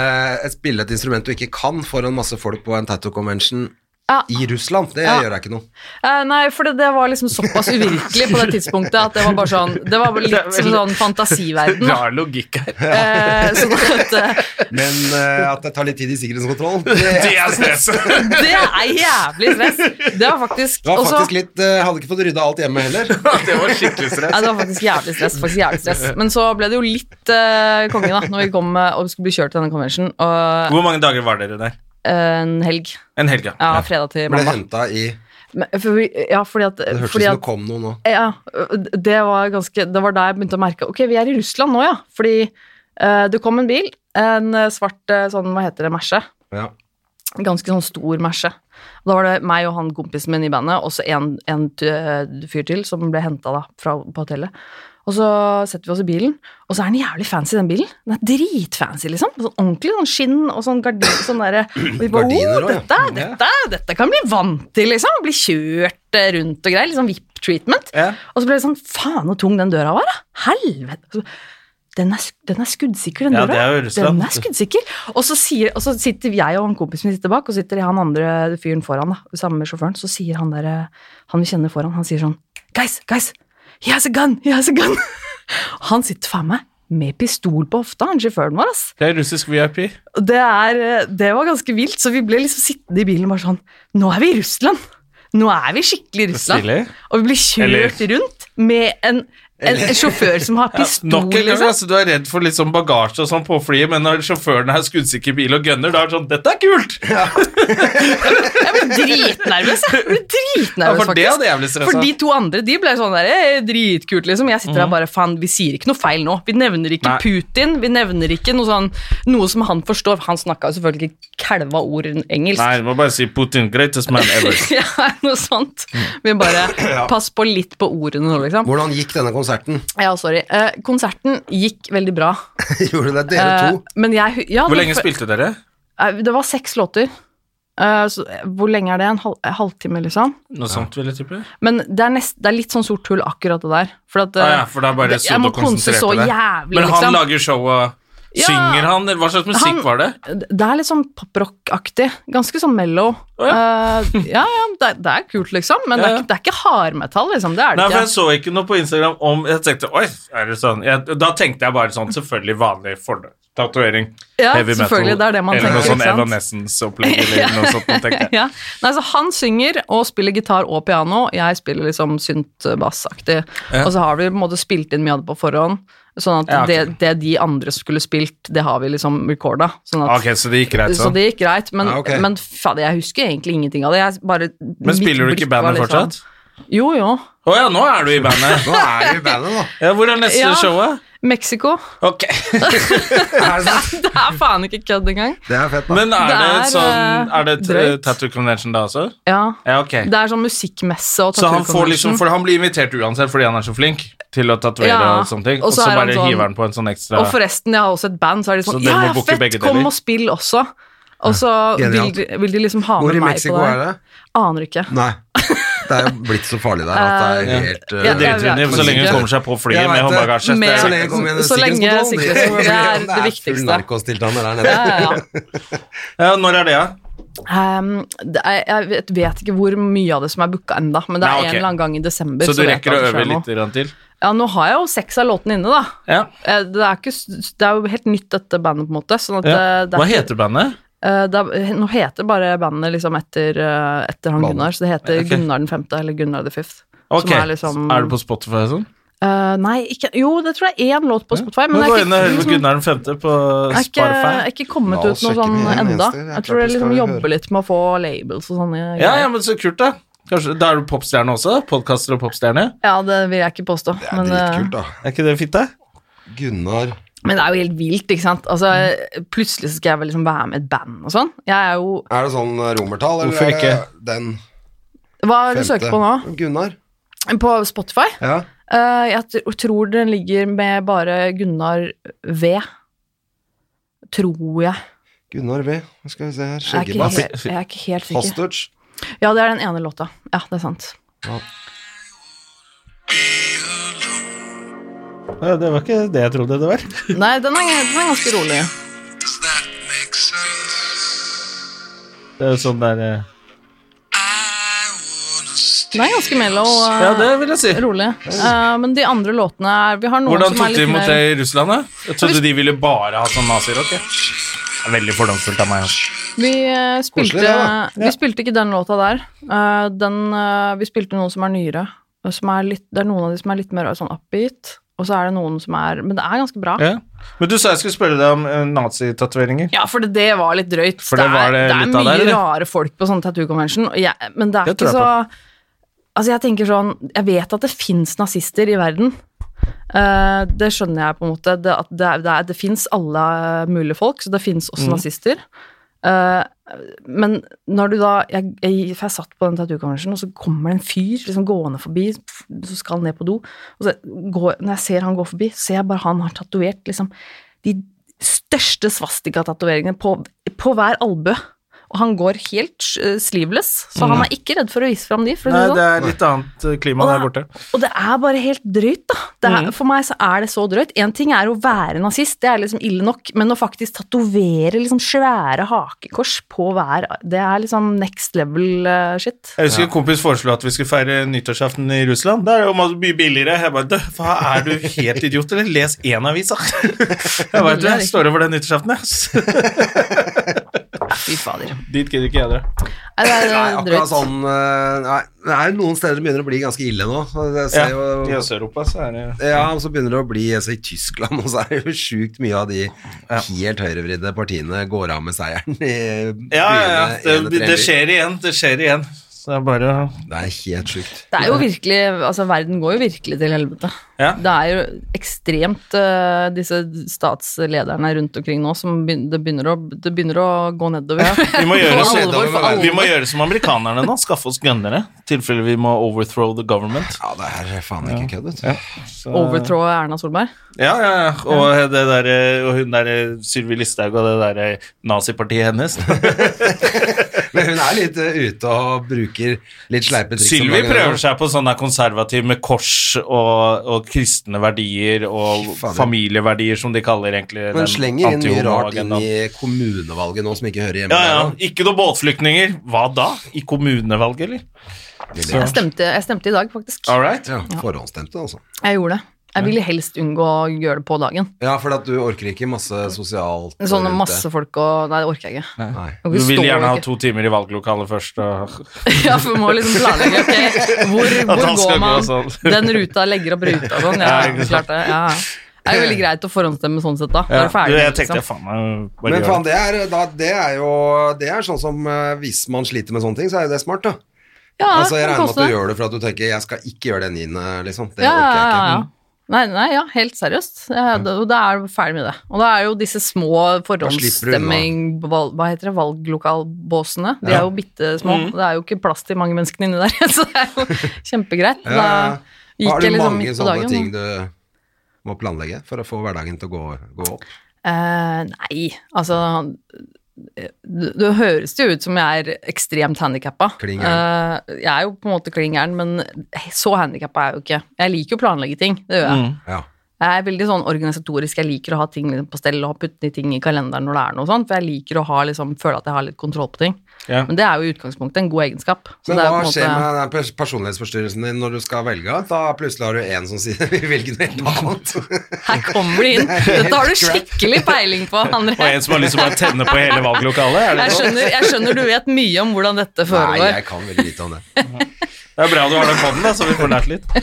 S2: spille et instrument du ikke kan foran masse folk på en tattoo convention
S3: Ja.
S2: i Russland, det
S3: Ja.
S2: gjør jeg ikke noe.
S3: Eh, Nei, for det, det var liksom såpass uvirkelig på det tidspunktet at det var bare sånn Det var
S1: Det er
S3: litt som
S1: veldig-
S3: sånn fantasiverden. da.
S1: Rar logikk her.
S3: Eh, sånn at eh,
S2: Men eh, at det tar litt tid i sikkerhetskontrollen, det,
S1: Det er stresset.
S3: Det er jævlig stress. Det var faktisk
S2: det var
S3: også-
S2: faktisk litt eh, Hadde ikke fått rydda alt hjemme heller.
S1: Det var skikkelig stress.
S3: Nei, det var faktisk jævlig stress. faktisk jævlig stress Men så ble det jo litt uh, konge, da, når vi kom eh, og skulle bli kjørt til denne convention. Og eh,
S1: Hvor mange dager var dere der?
S3: en helg.
S1: En helg, ja.
S3: Ja, fredag til
S2: Ble
S3: mandag.
S2: henta i
S3: Men, for vi, ja, fordi at
S2: Det hørtes ut
S3: fordi
S2: som
S3: at-
S2: det kom noe nå.
S3: Ja, det var ganske Det var da jeg begynte å merke Ok, vi er i Russland nå, ja. Fordi eh, det kom en bil. En eh, svart eh, sånn, hva heter det, Merce.
S2: Ja.
S3: Ganske sånn stor Merce. Og da var det meg og han kompisen min i bandet, og så en, en t- fyr til som ble henta da fra, på hotellet. Og så setter vi oss i bilen, og så er den jævlig fancy, den bilen. Den er dritfancy, liksom. Sånn ordentlig sånn skinn og sånn gardin sånn derre Og vi bare
S2: Gardiner
S3: oh,
S2: også, ja.
S3: dette, dette, dette kan bli vant til, liksom. Bli kjørt eh, rundt og greier. Litt sånn VIP-treatment.
S1: Ja.
S3: Og så ble det sånn Faen, hvor tung den døra var, da. Helvete. Så, Den er, sk- den er skuddsikker, den
S1: Ja,
S3: døra.
S1: det er jo Russland,
S3: Den
S1: vet
S3: er
S1: du.
S3: skuddsikker. Og så, sier, og så sitter jeg og han kompisen min sitter bak, og sitter han andre fyren foran, da, sammen med sjåføren. Så sier han der, han vi kjenner foran, han sier sånn Guys, guys, he has a gun, he has a gun. Han sitter faen meg med pistol på hofta, han sjåføren vår, ass.
S1: Det er russisk VIP.
S3: Og Det, er, det var ganske vilt, så vi ble liksom sittende i bilen bare sånn Nå er vi i Russland! Nå er vi skikkelig i Russland.
S1: Stilig.
S3: Og vi blir kjørt rundt med en, en, en sjåfør som har pistol,
S1: Nok en gang,
S3: liksom.
S1: altså, du er redd for litt sånn bagasje og sånn på flyet, men når sjåføren er skuddsikker bil og gunner, da er det sånn Dette er kult!
S3: Jeg ble dritnervøs, jeg. jeg ble
S1: Ja,
S3: dritnervøs
S1: for det
S3: faktisk.
S1: hadde jeg blitt stressa.
S3: For de to andre de ble sånn der, «Eh, dritkult, liksom. Jeg sitter der bare faen, vi sier ikke noe feil nå. Vi nevner ikke
S1: Mhm. Nei.
S3: Putin, vi nevner ikke noe sånn Noe som han forstår. Han snakka jo selvfølgelig ikke kalva ord engelsk.
S1: Nei, du må bare si Putin, greatest man ever.
S3: Ja, noe sånt. Vi bare Pass på litt på ordene nå, liksom.
S2: Hvordan gikk denne konserten?
S3: Ja, sorry. Eh, konserten gikk veldig bra.
S2: Gjorde det dere
S3: Eh,
S2: to?
S3: men jeg hu- ja,
S1: Hvor
S3: det-
S1: lenge spilte dere?
S3: Eh, Det var seks låter. Eh, så, eh, hvor lenge er det? En halv, eh, halvtime, liksom?
S1: Noe sånt, vil jeg tippe.
S3: Men det er, nest, det er litt sånn sort hull, akkurat det der. For at eh,
S1: Ah, ja, for det er bare
S3: det-
S1: sudd
S3: jeg må
S1: og konsentrert
S3: konse så
S1: til det.
S3: jævlig,
S1: Men han
S3: liksom.
S1: lager show og
S3: Ja.
S1: Synger han, eller hva slags musikk
S3: Han-
S1: var det?
S3: Det er litt sånn poprock-aktig. Ganske sånn mellow. Eh, ja, ja, det, er- det er kult, liksom. Men
S1: Ja, ja.
S3: Det, er, ikke- det er ikke hardmetall, liksom. Det er det
S1: Nei, for
S3: ikke.
S1: jeg så ikke noe på Instagram om Jeg tenkte, oi, er det sånn? Jeg, da tenkte jeg bare sånn, selvfølgelig vanlig fordel. Tatovering.
S3: Ja,
S1: heavy metal.
S3: selvfølgelig, det er det man
S1: eller
S3: tenker,
S1: noe
S3: ikke
S1: sånn
S3: sant?
S1: Evanescence-opplegg, eller noe sånt. man tenkte.
S3: ja. Nei, så han synger og spiller gitar og piano. Jeg spiller liksom synt-bass-aktig. Og så har vi på en måte spilt inn mye av det på forhånd. Sånn at
S1: Ja, ok.
S3: det, det de andre skulle spilt, det har vi liksom recorda. Sånn at,
S1: Ok, så det gikk greit
S3: så
S1: sånn.
S3: det gikk greit, men,
S2: Ja, ok.
S3: men fader, jeg husker egentlig ingenting av det. Jeg bare,
S1: Men spiller du ikke i bandet fortsatt?
S3: sånn. Jo, jo.
S1: Å ja, nå er du i bandet.
S2: Nå er vi i bandet, da.
S1: Ja, hvor er neste
S3: Ja.
S1: show, da?
S3: Mexico.
S1: Ok.
S2: Er det, sant?
S3: Det er faen ikke kødd engang.
S2: det er fett, da.
S1: Men er
S3: Det
S1: det,
S3: er,
S1: sånn Er det
S3: eh,
S1: t-
S3: drøyt.
S1: Tattoo Convention da også?
S3: Ja.
S1: Ja, ok.
S3: Det er sånn musikkmesse og
S1: Så han får
S3: tattoo-convention.
S1: liksom For han blir invitert uansett fordi han er så flink til å tatovere
S3: Ja,
S1: og sånne ting,
S3: og
S1: og
S3: så
S1: så
S3: er han
S1: bare
S3: sånn-
S1: hiver han på en sånn ekstra
S3: Og forresten, jeg har også et band, så er de
S1: Så
S3: sånn
S1: dere
S3: Ja,
S1: må
S3: ja,
S1: booke
S3: fett,
S1: begge
S3: kom
S1: deler.
S3: og spill også. Og så vil
S2: Genialt.
S3: de, vil de liksom ha
S2: Hvor i
S3: med meg på
S2: Mexico
S3: det.
S2: er det?
S3: Aner ikke.
S2: Nei. Det er jo blitt så farlig der at det
S1: Ja.
S2: er helt
S1: Det
S3: Ja,
S2: eh,
S3: det er-
S1: driter hun i så lenge hun kommer seg på flyet
S2: Jeg
S1: med
S2: vet det.
S1: håndbagasje.
S3: Med-
S1: Det
S2: Så
S1: er-
S2: lenge det kommer igjen en
S3: Så lenge
S2: sikkerhetskontroll,
S3: sikkerhetskontroll, det er det viktigste.
S2: full narkostilstand der nede.
S3: Ja, ja, ja.
S1: Ja, når er det, da?
S3: Ehm, det er, jeg vet, vet ikke hvor mye av det som er booka ennå, men det er
S1: Nei, ok.
S3: en eller annen gang i desember.
S1: Så du
S3: vet
S1: rekker
S3: jeg
S1: å
S3: at det
S1: øve
S3: skjer noe.
S1: litt grann til?
S3: Ja, nå har jeg jo seks av låtene inne, da.
S1: Ja.
S3: Eh, Det er, ikke, s- det er jo helt nytt, dette bandet, på en måte. Sånn at eh, det er
S1: Hva
S3: ikke-
S1: heter bandet?
S3: Eh, det er, nå heter bare bandet liksom etter, eh, etter han
S2: Bandet.
S3: Gunnar, så det heter
S1: Ok.
S3: Gunnar den femte, eller Gunnar the fifth.
S1: Ok,
S3: Som er liksom
S1: Er det på Spotify og sånn?
S3: Eh, nei, ikke, jo, det tror jeg er én låt på Spotify, men
S1: Nå
S3: Mm, det
S1: går
S3: er
S1: jeg inn og hører på
S3: ikke, liksom,
S1: Gunnar den femte på
S3: er ikke, er
S1: Spotify.
S3: ikke kommet
S2: La
S3: ut
S2: oss
S3: noe
S2: sjekke
S3: sånn
S2: med en
S3: enda.
S2: eneste, det er
S3: Jeg
S2: klart
S3: tror det
S2: vi
S3: liksom
S2: skal
S3: jobber
S2: høre.
S3: litt med å få labels og sånne
S1: Ja, ja, men så kult, da. Kanskje, Da er du popstjerne også? Podkaster og popstjerne?
S3: Ja, det vil jeg ikke påstå,
S2: Det er
S3: men, eh,
S2: dritkult, da.
S1: Er ikke det fint, da?
S2: Gunnar
S3: men det er jo helt vilt, ikke sant. Altså, plutselig så skal jeg vel liksom være med i et band og sånn. Jeg er jo
S2: Er det sånn romertall, eller
S1: Hvorfor
S2: er det
S1: ikke?
S2: den
S3: Hva er det du
S2: femte?
S3: søker på nå?
S2: Gunnar.
S3: På Spotify?
S2: Ja.
S3: Eh, jeg tr- tror den ligger med bare Gunnar V. Tror jeg.
S2: Gunnar V. Hva skal vi se her.
S3: Jeg er ikke,
S2: Skjeggebass.
S3: helt, jeg er ikke helt sikker.
S2: Hostage.
S3: Ja, det er den ene låta. Ja, det er sant.
S1: Ja, det var ikke det jeg trodde det var.
S3: Nei, den er, den er ganske rolig.
S1: Det er sånn der eh,
S3: Den er ganske mellow og
S1: Ja, det vil jeg si.
S3: rolig. Eh, men de andre låtene er Vi har noen
S1: Hvordan
S3: som
S1: tok de
S3: er litt
S1: imot
S3: mer
S1: det i Russland, da? Jeg trodde de ville bare ha sånn nazirock. jeg. Det er Veldig fordomsfullt av meg. altså.
S3: Vi eh, spilte,
S2: Koselig, det, da.
S3: vi spilte ikke den låta der. Eh, den, eh, vi spilte noen som er nyere. og Som er litt, det er noen av de som er litt mer sånn upbeat, og så er det noen som er Men det er ganske bra.
S1: Ja. Men du sa jeg skulle spørre deg om eh, nazitatoveringer.
S3: Ja, for det, det var litt drøyt.
S1: For det var det
S3: er, det er
S1: litt av
S3: mye
S1: det, eller?
S3: rare folk på sånn tattoo convention, og jeg, men det er
S1: Det tror
S3: ikke
S1: jeg
S3: så Altså, jeg tenker sånn Jeg vet at det fins nazister i verden. Eh, det
S1: Mm.
S3: skjønner jeg på en måte. Det, at det, er- det, er- det fins alle mulige folk, så det fins også nazister. Eh, men når du da jeg, jeg, For jeg satt på den tattoo-konvensjonen, og så kommer det en fyr liksom gående forbi, pff, så skal han ned på do. Og så går, når jeg ser han gå forbi, ser jeg bare han har tatovert liksom, de største svastika-tatoveringene på, på hver albue. Og han går helt eh, sleeveless, så han er ikke redd for å vise fram de. For å si
S1: Nei,
S3: det sånn.
S1: det er litt annet eh, klima
S3: Og
S1: der
S3: det
S1: borte.
S3: Og det er bare helt drøyt, da. Det er, For meg så er det så drøyt. Én ting er å være nazist, det er liksom ille nok, men å faktisk tatovere liksom svære hakekors på hver Det er liksom next level eh, shit.
S1: Jeg husker en kompis foreslo at vi skulle feire nyttårsaften i Russland. Det er jo mye billigere. Jeg bare, «Dø, hva er du helt idiot, eller? Les én avis, da. Jeg bare, «Du, jeg står over den nyttårsaften, jeg.
S3: Fy fader.
S1: Dit gidder ikke jeg dra.
S3: Nei, det er
S2: Nei, akkurat
S3: drøyt.
S2: sånn eh, Nei, det er noen steder det begynner å bli ganske ille nå. og Jeg
S1: Ja,
S2: ser
S1: I
S2: jo
S1: Øst-Europa så er det
S2: ja, og så begynner det å bli altså, I Tyskland og så er det jo sjukt mye av de helt høyrevridde partiene går av med seieren i
S1: Ja, ja, ja.
S2: byene, ene
S1: Det,
S2: til en
S1: det
S2: by.
S1: skjer igjen. Det skjer igjen. Så det er bare
S2: Det er helt sjukt.
S3: Det er jo virkelig Altså, verden går jo virkelig til helvete.
S1: Ja.
S3: Det er jo ekstremt eh, disse statslederne rundt omkring nå som begyn- det begynner å, det begynner å gå nedover.
S1: Vi må gjøre,
S3: For alvor, for alvor.
S1: vi må gjøre som amerikanerne nå. Skaffe oss gønnere. I tilfelle vi må overthrow the government.
S2: Ja, det er faen ikke kødd, vet du.
S1: Så-
S3: Overtrå Erna Solberg.
S1: Ja, ja, ja. Og, det der, eh, og hun derre Sylvi Listhaug og det derre nazipartiet hennes.
S2: Men hun er litt eh, ute og bruker litt sleipe triks. om
S1: Sylvi
S2: dagen,
S1: prøver
S2: da.
S1: seg på sånn der konservativ med kors og, og kristne verdier og
S2: Fy fader.
S1: familieverdier, som de kaller egentlig
S2: Men slenger inn mye rart inn
S1: antihomo-agendaen.
S2: i kommunevalget nå som ikke hører hjemme
S1: ja, ja.
S2: der.
S1: Ikke noe båtflyktninger. Hva da? I kommunevalget, eller?
S2: Ville-
S3: Jeg stemte, jeg stemte i dag, faktisk.
S1: All right.
S2: Ja, forhåndsstemte, altså.
S3: Jeg gjorde det. Jeg ville helst unngå å gjøre det på dagen.
S2: Ja, for at du orker ikke masse sosialt eh,
S3: Sånne
S2: rundt det.
S3: masse folk og Nei, det orker jeg ikke.
S2: Nei.
S3: Jeg
S1: Du vil
S3: stå
S1: gjerne ha
S3: ikke.
S1: to timer i valglokalet først. Og...
S3: Ja, for vi må liksom planlegge. ok, hvor,
S1: At
S3: hvor
S1: han skal
S3: går
S1: gå
S3: man?
S1: sånn.
S3: Den ruta legger opp ruta og sånn.
S1: Ja,
S3: Ja,
S1: ikke sant.
S3: klart det. Ja. Det er jo veldig greit å forhåndsstemme sånn sett, da. Da
S1: Ja.
S3: er det
S1: du,
S3: ferdig.
S1: jeg tenkte
S3: liksom.
S1: faen meg bare
S2: Men
S1: gjør
S2: faen,
S1: det.
S2: det er, da, det er jo Det er sånn som eh, hvis man sliter med sånne ting, så er jo det smart, da.
S3: Ja,
S2: altså, jeg
S3: det
S2: regner med at
S3: koster.
S2: du gjør det for at du tenker 'jeg skal ikke gjøre det niende', liksom. Det
S3: ja,
S2: orker jeg ikke.
S3: ja, ja. Nei, nei, ja, helt seriøst. Ja, da, da er du ferdig med det. Og da er jo disse små
S2: slipper du unna.
S3: forhåndsstemming... val- Hva heter det? Valglokalbåsene. De er jo bitte små. Det er jo ikke plass til mange menneskene inni der, så det er jo kjempegreit.
S2: Ja, ja, ja.
S3: Da gikk
S2: Har du
S3: jeg liksom
S2: mange
S3: midt på
S2: sånne
S3: dagen.
S2: ting du må planlegge for å få hverdagen til å gå, gå opp?
S3: Eh, nei, altså det, det høres jo ut som jeg er ekstremt handikappa.
S2: Kling gæren.
S3: jeg er jo på en måte kling gæren, men så handikappa er jeg jo ikke. Jeg liker jo å planlegge ting, det gjør jeg.
S2: Ja.
S3: Jeg er veldig sånn organisatorisk, jeg liker å ha ting liksom på stell og putte de ting i kalenderen når det er noe sånt, for jeg liker å ha, liksom, føle at jeg har litt kontroll på ting.
S1: Ja.
S3: Men det er jo i utgangspunktet en god egenskap. Så
S2: Men
S3: det er jo
S2: hva
S3: på en
S2: skjer
S3: måte-
S2: med den pers- personlighetsforstyrrelsen din når du skal velge? Da plutselig har du én som sier 'vi velger noe helt annet'.
S3: Her kommer de inn! Dette har du skikkelig peiling på,
S1: Og
S3: André.
S1: en som har lyst til å bare tenne på hele valglokalet. Er det,
S3: Jeg
S1: sånn?
S3: skjønner, jeg skjønner du vet mye om hvordan dette
S2: Nei,
S3: foregår.
S2: jeg kan veldig lite om det.
S1: det er bra du har den podden, da, så vi får lært litt.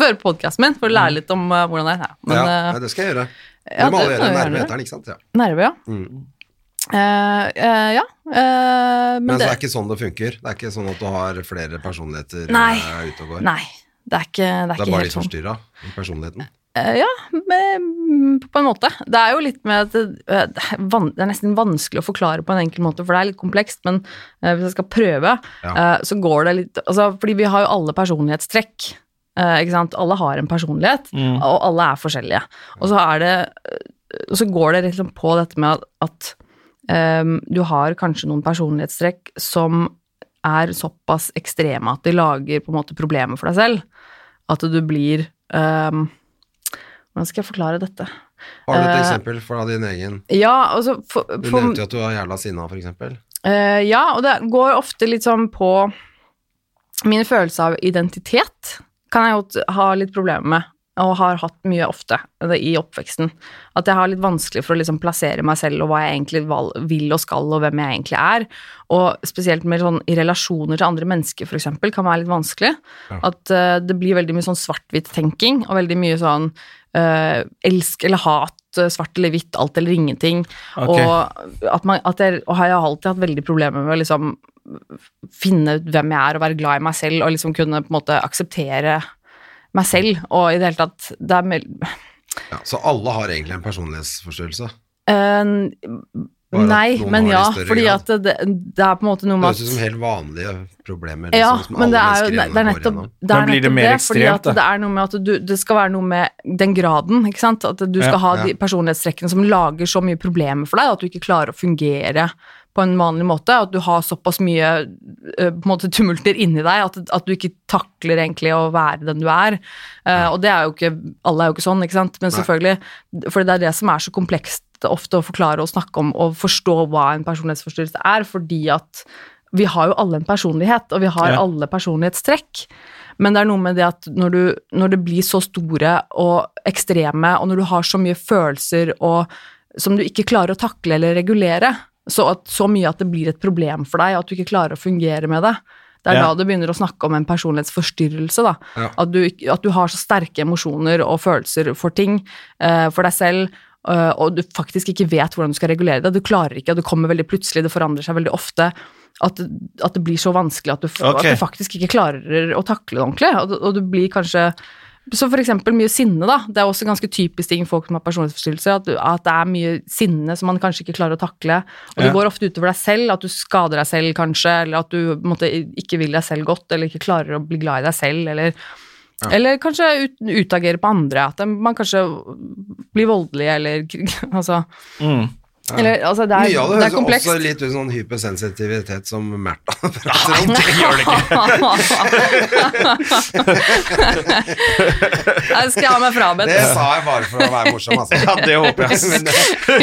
S3: Før podkasten min, for å lære litt om eh, hvordan det er. her.
S2: Mm.
S3: Men
S2: ja,
S3: eh,
S2: det skal jeg gjøre.
S3: ja,
S2: du må alle
S3: det
S2: gjøre det
S3: må du
S2: nærme
S3: gjerne.
S2: eteren, ikke sant? Ja.
S3: Nerve, ja. Eh, eh, ja. eh, men,
S2: Men,
S3: det,
S2: så er det ikke sånn det funker. Det er ikke sånn at du har flere personligheter
S3: Nei.
S2: eh, ute og går.
S3: Nei, det er ikke, det er
S2: det er
S3: ikke
S2: bare
S3: helt
S2: litt
S3: sånn.
S2: forstyrra i personligheten.
S3: Eh, ja, men, på en måte. Det er jo litt med at det, eh, det er van- det er nesten vanskelig å forklare på en enkel måte, for det er litt komplekst, men eh, hvis jeg skal prøve,
S2: Ja.
S3: eh, så går det litt altså, Fordi vi har jo alle personlighetstrekk. eh, ikke sant? Alle har en personlighet,
S2: Mm.
S3: og alle er forskjellige. Og så, er det, eh, og så går det liksom på dette med at, at ehm, du har kanskje noen personlighetstrekk som er såpass ekstreme at de lager på en måte problemer for deg selv. At du blir ehm, Hvordan skal jeg forklare dette?
S2: Har du et
S3: Eh,
S2: eksempel fra din egen
S3: Ja, altså for,
S2: Du
S3: for,
S2: nevnte jo at du var jævla sinna, for eksempel.
S3: Eh, ja, og det går ofte litt sånn på mine følelser av identitet. Kan jeg jo t- ha litt problemer med, og har hatt mye ofte det i oppveksten. At jeg har litt vanskelig for å liksom plassere meg selv og hva jeg egentlig val- vil og skal, og hvem jeg egentlig er. Og spesielt med sånn i relasjoner til andre mennesker, f.eks., kan være litt vanskelig. At eh, det blir veldig mye sånn svart-hvitt-tenking, og veldig mye sånn eh, elsk eller hat, eh, svart eller hvitt, alt eller ingenting.
S1: Ok.
S3: Og, at man, at jeg, og jeg har alltid hatt veldig problemer med å liksom finne ut hvem jeg er og være glad i meg selv og liksom kunne på en måte akseptere meg selv og i det hele tatt det er mel-
S2: Ja, så alle har egentlig en personlighetsforstyrrelse.
S3: Eh,
S2: Bare at
S3: Nei,
S2: noen
S3: men
S2: har det i
S3: ja,
S2: større
S3: fordi
S2: grad.
S3: at det, det er på en måte noe
S2: Det
S3: med
S2: høres ut som helt vanlige problemer.
S3: Ja,
S2: liksom, som
S3: men
S2: alle
S3: det er jo
S2: mennesker
S3: det
S2: igjen
S3: er
S2: går
S3: nettopp
S2: gjennom.
S3: det. Er
S1: Men blir det
S3: nettopp
S1: mer
S3: det, fordi
S1: ekstremt,
S3: at
S1: da?
S3: Altså, det er noe med at du, det skal være noe med den graden, ikke sant? At du skal
S1: Ja,
S3: ha
S2: ja.
S3: de personlighetstrekkene som lager så mye problemer for deg, at du ikke klarer å fungere på en vanlig måte, at du har såpass mye eh, på en måte tumulter inni deg, at, at du ikke takler egentlig å være den du er. Eh, og det er jo ikke Alle er jo ikke sånn, ikke sant? Men selvfølgelig, for det er det som er så komplekst ofte å forklare og snakke om og forstå hva en personlighetsforstyrrelse er, fordi at vi har jo alle en personlighet, og vi har
S1: Ja.
S3: alle personlighetstrekk. Men det er noe med det at når, du, når det blir så store og ekstreme, og når du har så mye følelser og, som du ikke klarer å takle eller regulere, så, at, så mye at det blir et problem for deg, at du ikke klarer å fungere med det. Det er
S1: Ja.
S3: da du begynner å snakke om en personlighetsforstyrrelse. Da.
S2: Ja.
S3: At, du, ikke- at du har så sterke emosjoner og følelser for ting, eh, for deg selv, eh, og du faktisk ikke vet hvordan du skal regulere det. Du klarer ikke, og det kommer veldig plutselig, det forandrer seg veldig ofte. At, at det blir så vanskelig at du, f-
S1: Ok.
S3: at du faktisk ikke klarer å takle det ordentlig. Og, du- og du blir kanskje så for eksempel mye sinne, da. Det er også ganske typisk ting folk som har personlighetsforstyrrelser, at, du- at det er mye sinne som man kanskje ikke klarer å takle. Og det
S1: Ja.
S3: går ofte utover deg selv, at du skader deg selv kanskje, eller at du på en måte, ikke vil deg selv godt, eller ikke klarer å bli glad i deg selv, eller Eller kanskje ut, utagere på andre, at man kanskje blir voldelig, eller altså, eller, altså Det er,
S2: Mm. Mye av det
S3: det er
S2: høres
S3: komplekst.
S2: også litt ut som sånn hypersensitivitet som Märtha prater om.
S3: Nei, det skal jeg ha meg frabedt.
S2: Det sa jeg bare for å være morsom, altså.
S1: Ja, det håper jeg.
S2: men,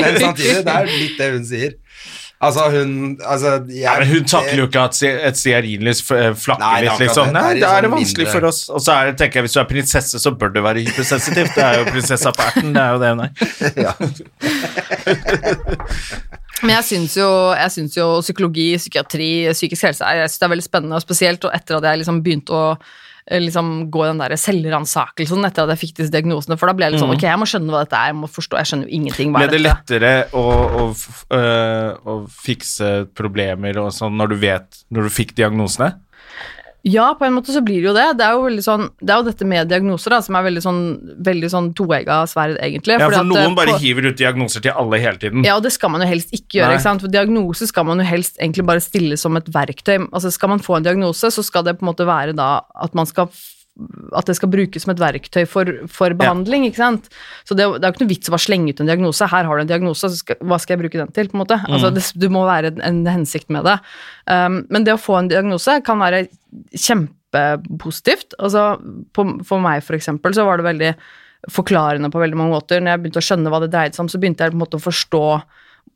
S2: men samtidig, det er litt det hun sier. Altså, hun altså, jeg,
S1: Nei, men hun takler jo ikke at si- et stearinlys f- eh,
S2: Nei,
S1: flakker
S2: det er
S1: litt,
S2: akkurat
S1: liksom.
S2: det. Det
S1: Nei,
S2: er
S1: da
S2: liksom
S1: er det vanskelig
S2: mindre-
S1: for oss. Og så er det, tenker jeg, hvis du er prinsesse, så bør du være hypersensitiv. Det er jo prinsessa på erten, det er jo det hun er.
S3: Men jeg syns jo, jeg syns jo psykologi, psykiatri, psykisk helse er, jeg synes det er veldig spennende, og spesielt og etter at jeg liksom begynte å eh, liksom gå den der selvransakelsen etter at jeg fikk disse diagnosene, for da ble jeg litt sånn, ok, jeg må skjønne hva dette er, jeg må forstå, jeg skjønner jo ingenting, hva
S1: Mm. Ble
S3: er
S1: det
S3: dette?
S1: lettere å, å, f- øh, å fikse problemer og sånn når du vet Når du fikk diagnosene?
S3: Ja, på en måte så blir det jo det. Det er jo, veldig sånn, det er jo dette med diagnoser da, som er veldig sånn, veldig sånn toegga sverd, egentlig.
S1: Ja, for
S3: fordi at, eh,
S1: noen bare
S3: på-
S1: hiver ut diagnoser til alle hele tiden.
S3: Ja, og det skal man jo helst ikke gjøre.
S1: Nei.
S3: ikke sant? For Diagnose skal man jo helst egentlig bare stille som et verktøy. Altså Skal man få en diagnose, så skal det på en måte være da at man skal f- at det skal brukes som et verktøy for, for behandling. ikke sant? Så det, er jo- det er jo ikke noe vits å bare slenge ut en diagnose. Her har du en diagnose, så skal, hva skal jeg bruke den til? på en måte? Altså, det, Du må være en, en hensikt med det. Um, men det å få en diagnose kan være kjempepositivt. Altså, på, for meg, for eksempel, så var det veldig forklarende på veldig mange måter. Når jeg begynte å skjønne hva det dreide seg om, så begynte jeg på en måte å forstå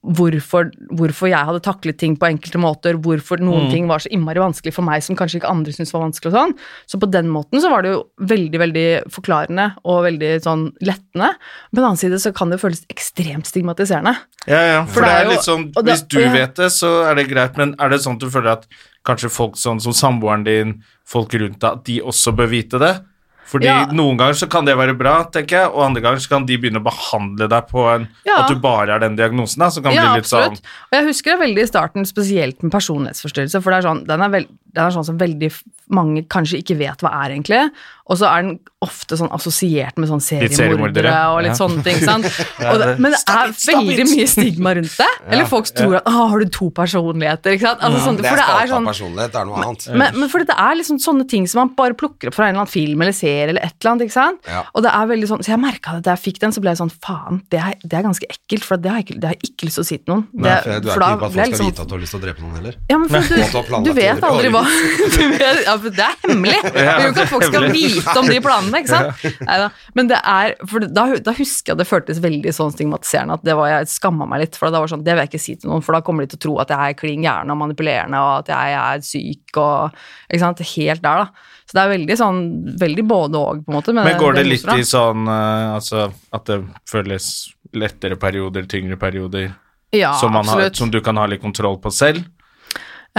S3: hvorfor, hvorfor jeg hadde taklet ting på enkelte måter, hvorfor noen ting var så innmari vanskelig for meg som kanskje ikke andre syntes var vanskelig og sånn. Så på den måten så var det jo veldig, veldig forklarende og veldig sånn lettende. På den annen side så kan det jo føles ekstremt stigmatiserende.
S1: Ja, ja, for, det er
S3: jo-
S1: litt sånn
S3: og det-
S1: Hvis du
S3: og jeg-
S1: vet det, så er det greit, men er det sånn at du føler at kanskje folk sånn som samboeren din, folk rundt deg, at de også bør vite det? Fordi
S3: Ja.
S1: noen ganger så kan det være bra, tenker jeg, og andre ganger så kan de begynne å behandle deg på en
S3: Ja.
S1: At du bare er den diagnosen, da, som kan bli litt sånn.
S3: absolutt. Og jeg husker det veldig i starten, spesielt med personlighetsforstyrrelse, for det er sånn, den, er vel- den er sånn som veldig f- mange kanskje ikke vet hva er egentlig, og så er den ofte sånn assosiert med sånn
S1: Litt
S3: seriemordere
S1: seriemordere,
S3: og
S1: ja.
S3: litt sånne ting, ikke sant? Og det, men det er veldig mye stigma rundt det, eller folk tror at, å, har du to personligheter, ikke sant?
S1: Mm.
S3: Altså, sånne,
S2: Det
S3: for
S2: er
S3: det er
S2: spalta
S3: sånn,
S2: personlighet, det er noe annet.
S3: men, men fordi det er liksom sånne ting som man bare plukker opp fra en eller annen film eller serie eller et eller annet, ikke sant?
S2: Ja.
S3: Og det er veldig sånn, så jeg merket det da jeg fikk den, så ble jeg sånn, faen, det er, det er ganske ekkelt, for det har jeg ikke, det har jeg ikke lyst til å si til noen.
S2: Nei, for
S3: Det-
S2: du er
S3: for
S2: ikke
S3: da
S2: hypp på at
S3: ble
S2: folk skal
S3: jeg liksom-
S2: vite at du har lyst til å drepe noen heller.
S3: Ja, men for
S2: Måtte ha
S3: du,
S2: planlagt
S3: du vet
S2: tidligere.
S3: aldri hva du vet, ja, for Det er hemmelig. Du vil jo ikke at folk skal vite om de planene, ikke sant? Neida. Men det er, for da, da husker jeg det føltes veldig sånn stigmatiserende at det var, jeg skamma meg litt. For da var det sånn, det vil jeg ikke si til noen, for da kommer de til å tro at jeg er klin gæren og manipulerende, og at jeg er syk og ikke sant? Helt der, da. Så det er veldig sånn, veldig både og, på en måte. med
S1: sånn Men går det
S3: diagnoser,
S1: litt
S3: da.
S1: i sånn eh, Altså at det føles lettere perioder, tyngre perioder,
S3: ja,
S1: som, man har,
S3: absolutt.
S1: som du kan ha litt kontroll på selv?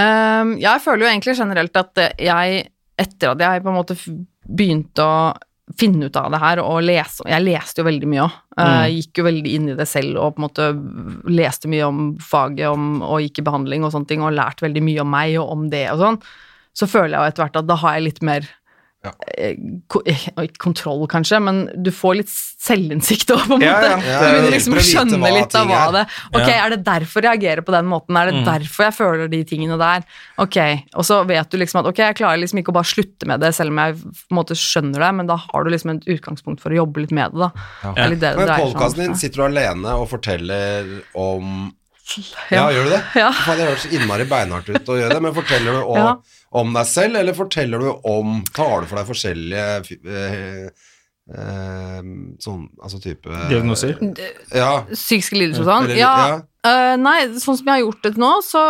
S3: Ehm, jeg føler jo egentlig generelt at eh, jeg, etter at jeg på en måte f- begynte å finne ut av det her og lese Jeg leste jo veldig mye òg.
S2: Mm.
S3: Gikk jo veldig inn i det selv og på en måte leste mye om faget om, og gikk i behandling og sånne ting og lærte veldig mye om meg og om det og sånn. Så føler jeg jo etter hvert at da har jeg litt mer eh, ko- eh, ikke kontroll, kanskje, men du får litt selvinnsikt òg, på en
S1: Ja,
S3: måte.
S2: Ja,
S1: ja.
S3: Du
S2: ja,
S3: begynner
S2: ja.
S3: liksom
S2: Prøver
S3: å
S2: å vite
S3: skjønne
S2: hva
S3: litt av
S2: ting
S3: hva
S2: er.
S3: det Ok,
S1: Ja.
S3: er det derfor jeg agerer på den måten? Er det derfor jeg føler de tingene der? Ok, Og så vet du liksom at ok, jeg klarer liksom ikke å bare slutte med det, selv om jeg på en måte skjønner det, men da har du liksom et utgangspunkt for å jobbe litt med det, da. Det er sånn litt det det
S2: Men
S3: dreier seg om.
S2: podkasten din sitter du alene og forteller om Ja,
S3: Ja.
S2: gjør du det?
S3: Ja.
S2: Faen, det høres innmari beinhardt ut å gjøre det, men forteller du om,
S3: Ja.
S2: om deg selv, eller forteller du om Tar du for deg forskjellige eh, eh, sånn, altså type
S1: Diagnoser.
S2: Ja.
S3: Psykiske lidelser og sånn?
S2: Eller-
S3: Ja.
S2: ja.
S3: Eh, nei, sånn som jeg har gjort det til nå, så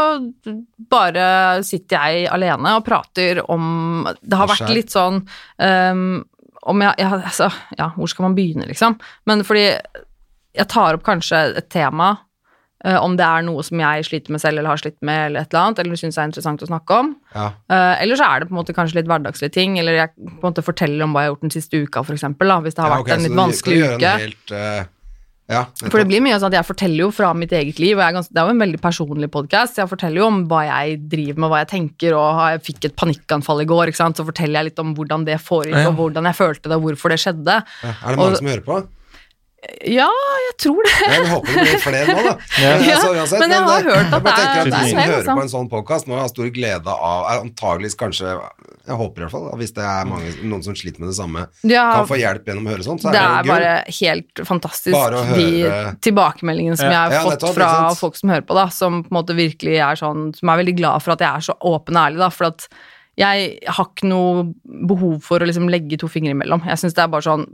S3: bare sitter jeg alene og prater om Det har
S2: Hva
S3: vært
S2: skjer?
S3: litt sånn ehm, om jeg, jeg altså, Ja, hvor skal man begynne, liksom? Men fordi jeg tar opp kanskje et tema, eh, om det er noe som jeg sliter med selv, eller har slitt med, eller et eller annet, eller syns er interessant å snakke om.
S2: ja.
S3: Eh, eller så er det på en måte kanskje litt hverdagslige ting, eller jeg på en måte forteller om hva jeg har gjort den siste uka, for eksempel, da, hvis det har
S2: Ja,
S3: vært
S2: ok,
S3: en
S2: så
S3: litt
S2: du
S3: vanskelig
S2: kan gjøre
S3: uke.
S2: en helt, eh, ja,
S3: For det blir mye sånn at jeg forteller jo fra mitt eget liv, og jeg er gans- det er jo en veldig personlig podkast. Jeg forteller jo om hva jeg driver med, hva jeg tenker, og har- jeg fikk et panikkanfall i går, ikke sant? så forteller jeg litt om hvordan det foregikk,
S1: Ja.
S3: og hvordan jeg følte det, og hvorfor det skjedde.
S2: Er det mange
S3: og-
S2: som hører på?
S3: Ja, jeg tror det.
S2: Jeg håper det blir flere nå, da. altså,
S3: Ja, men jeg har hørt
S2: eh,
S3: at
S2: jeg bare
S3: det er-
S2: tenker at
S3: det er
S2: de som
S3: flere,
S2: hører
S3: altså.
S2: på en sånn podkast, må ha stor glede av er antageligvis kanskje Jeg håper i hvert fall, da, hvis det er mange, noen som sliter med det samme,
S3: Ja.
S2: kan få hjelp gjennom å høre sånt, så
S3: det
S2: er
S3: er
S2: det jo gull.
S3: bare helt fantastisk,
S2: Bare å høre-
S3: de tilbakemeldingene som jeg har
S2: Ja,
S3: fått
S2: nettopp,
S3: fra
S2: ikke sant?
S3: folk som hører på, da, som på en måte virkelig er sånn Som er veldig glad for at jeg er så åpen og ærlig, da, for at jeg har ikke noe behov for å liksom legge to fingre imellom. Jeg synes det er bare sånn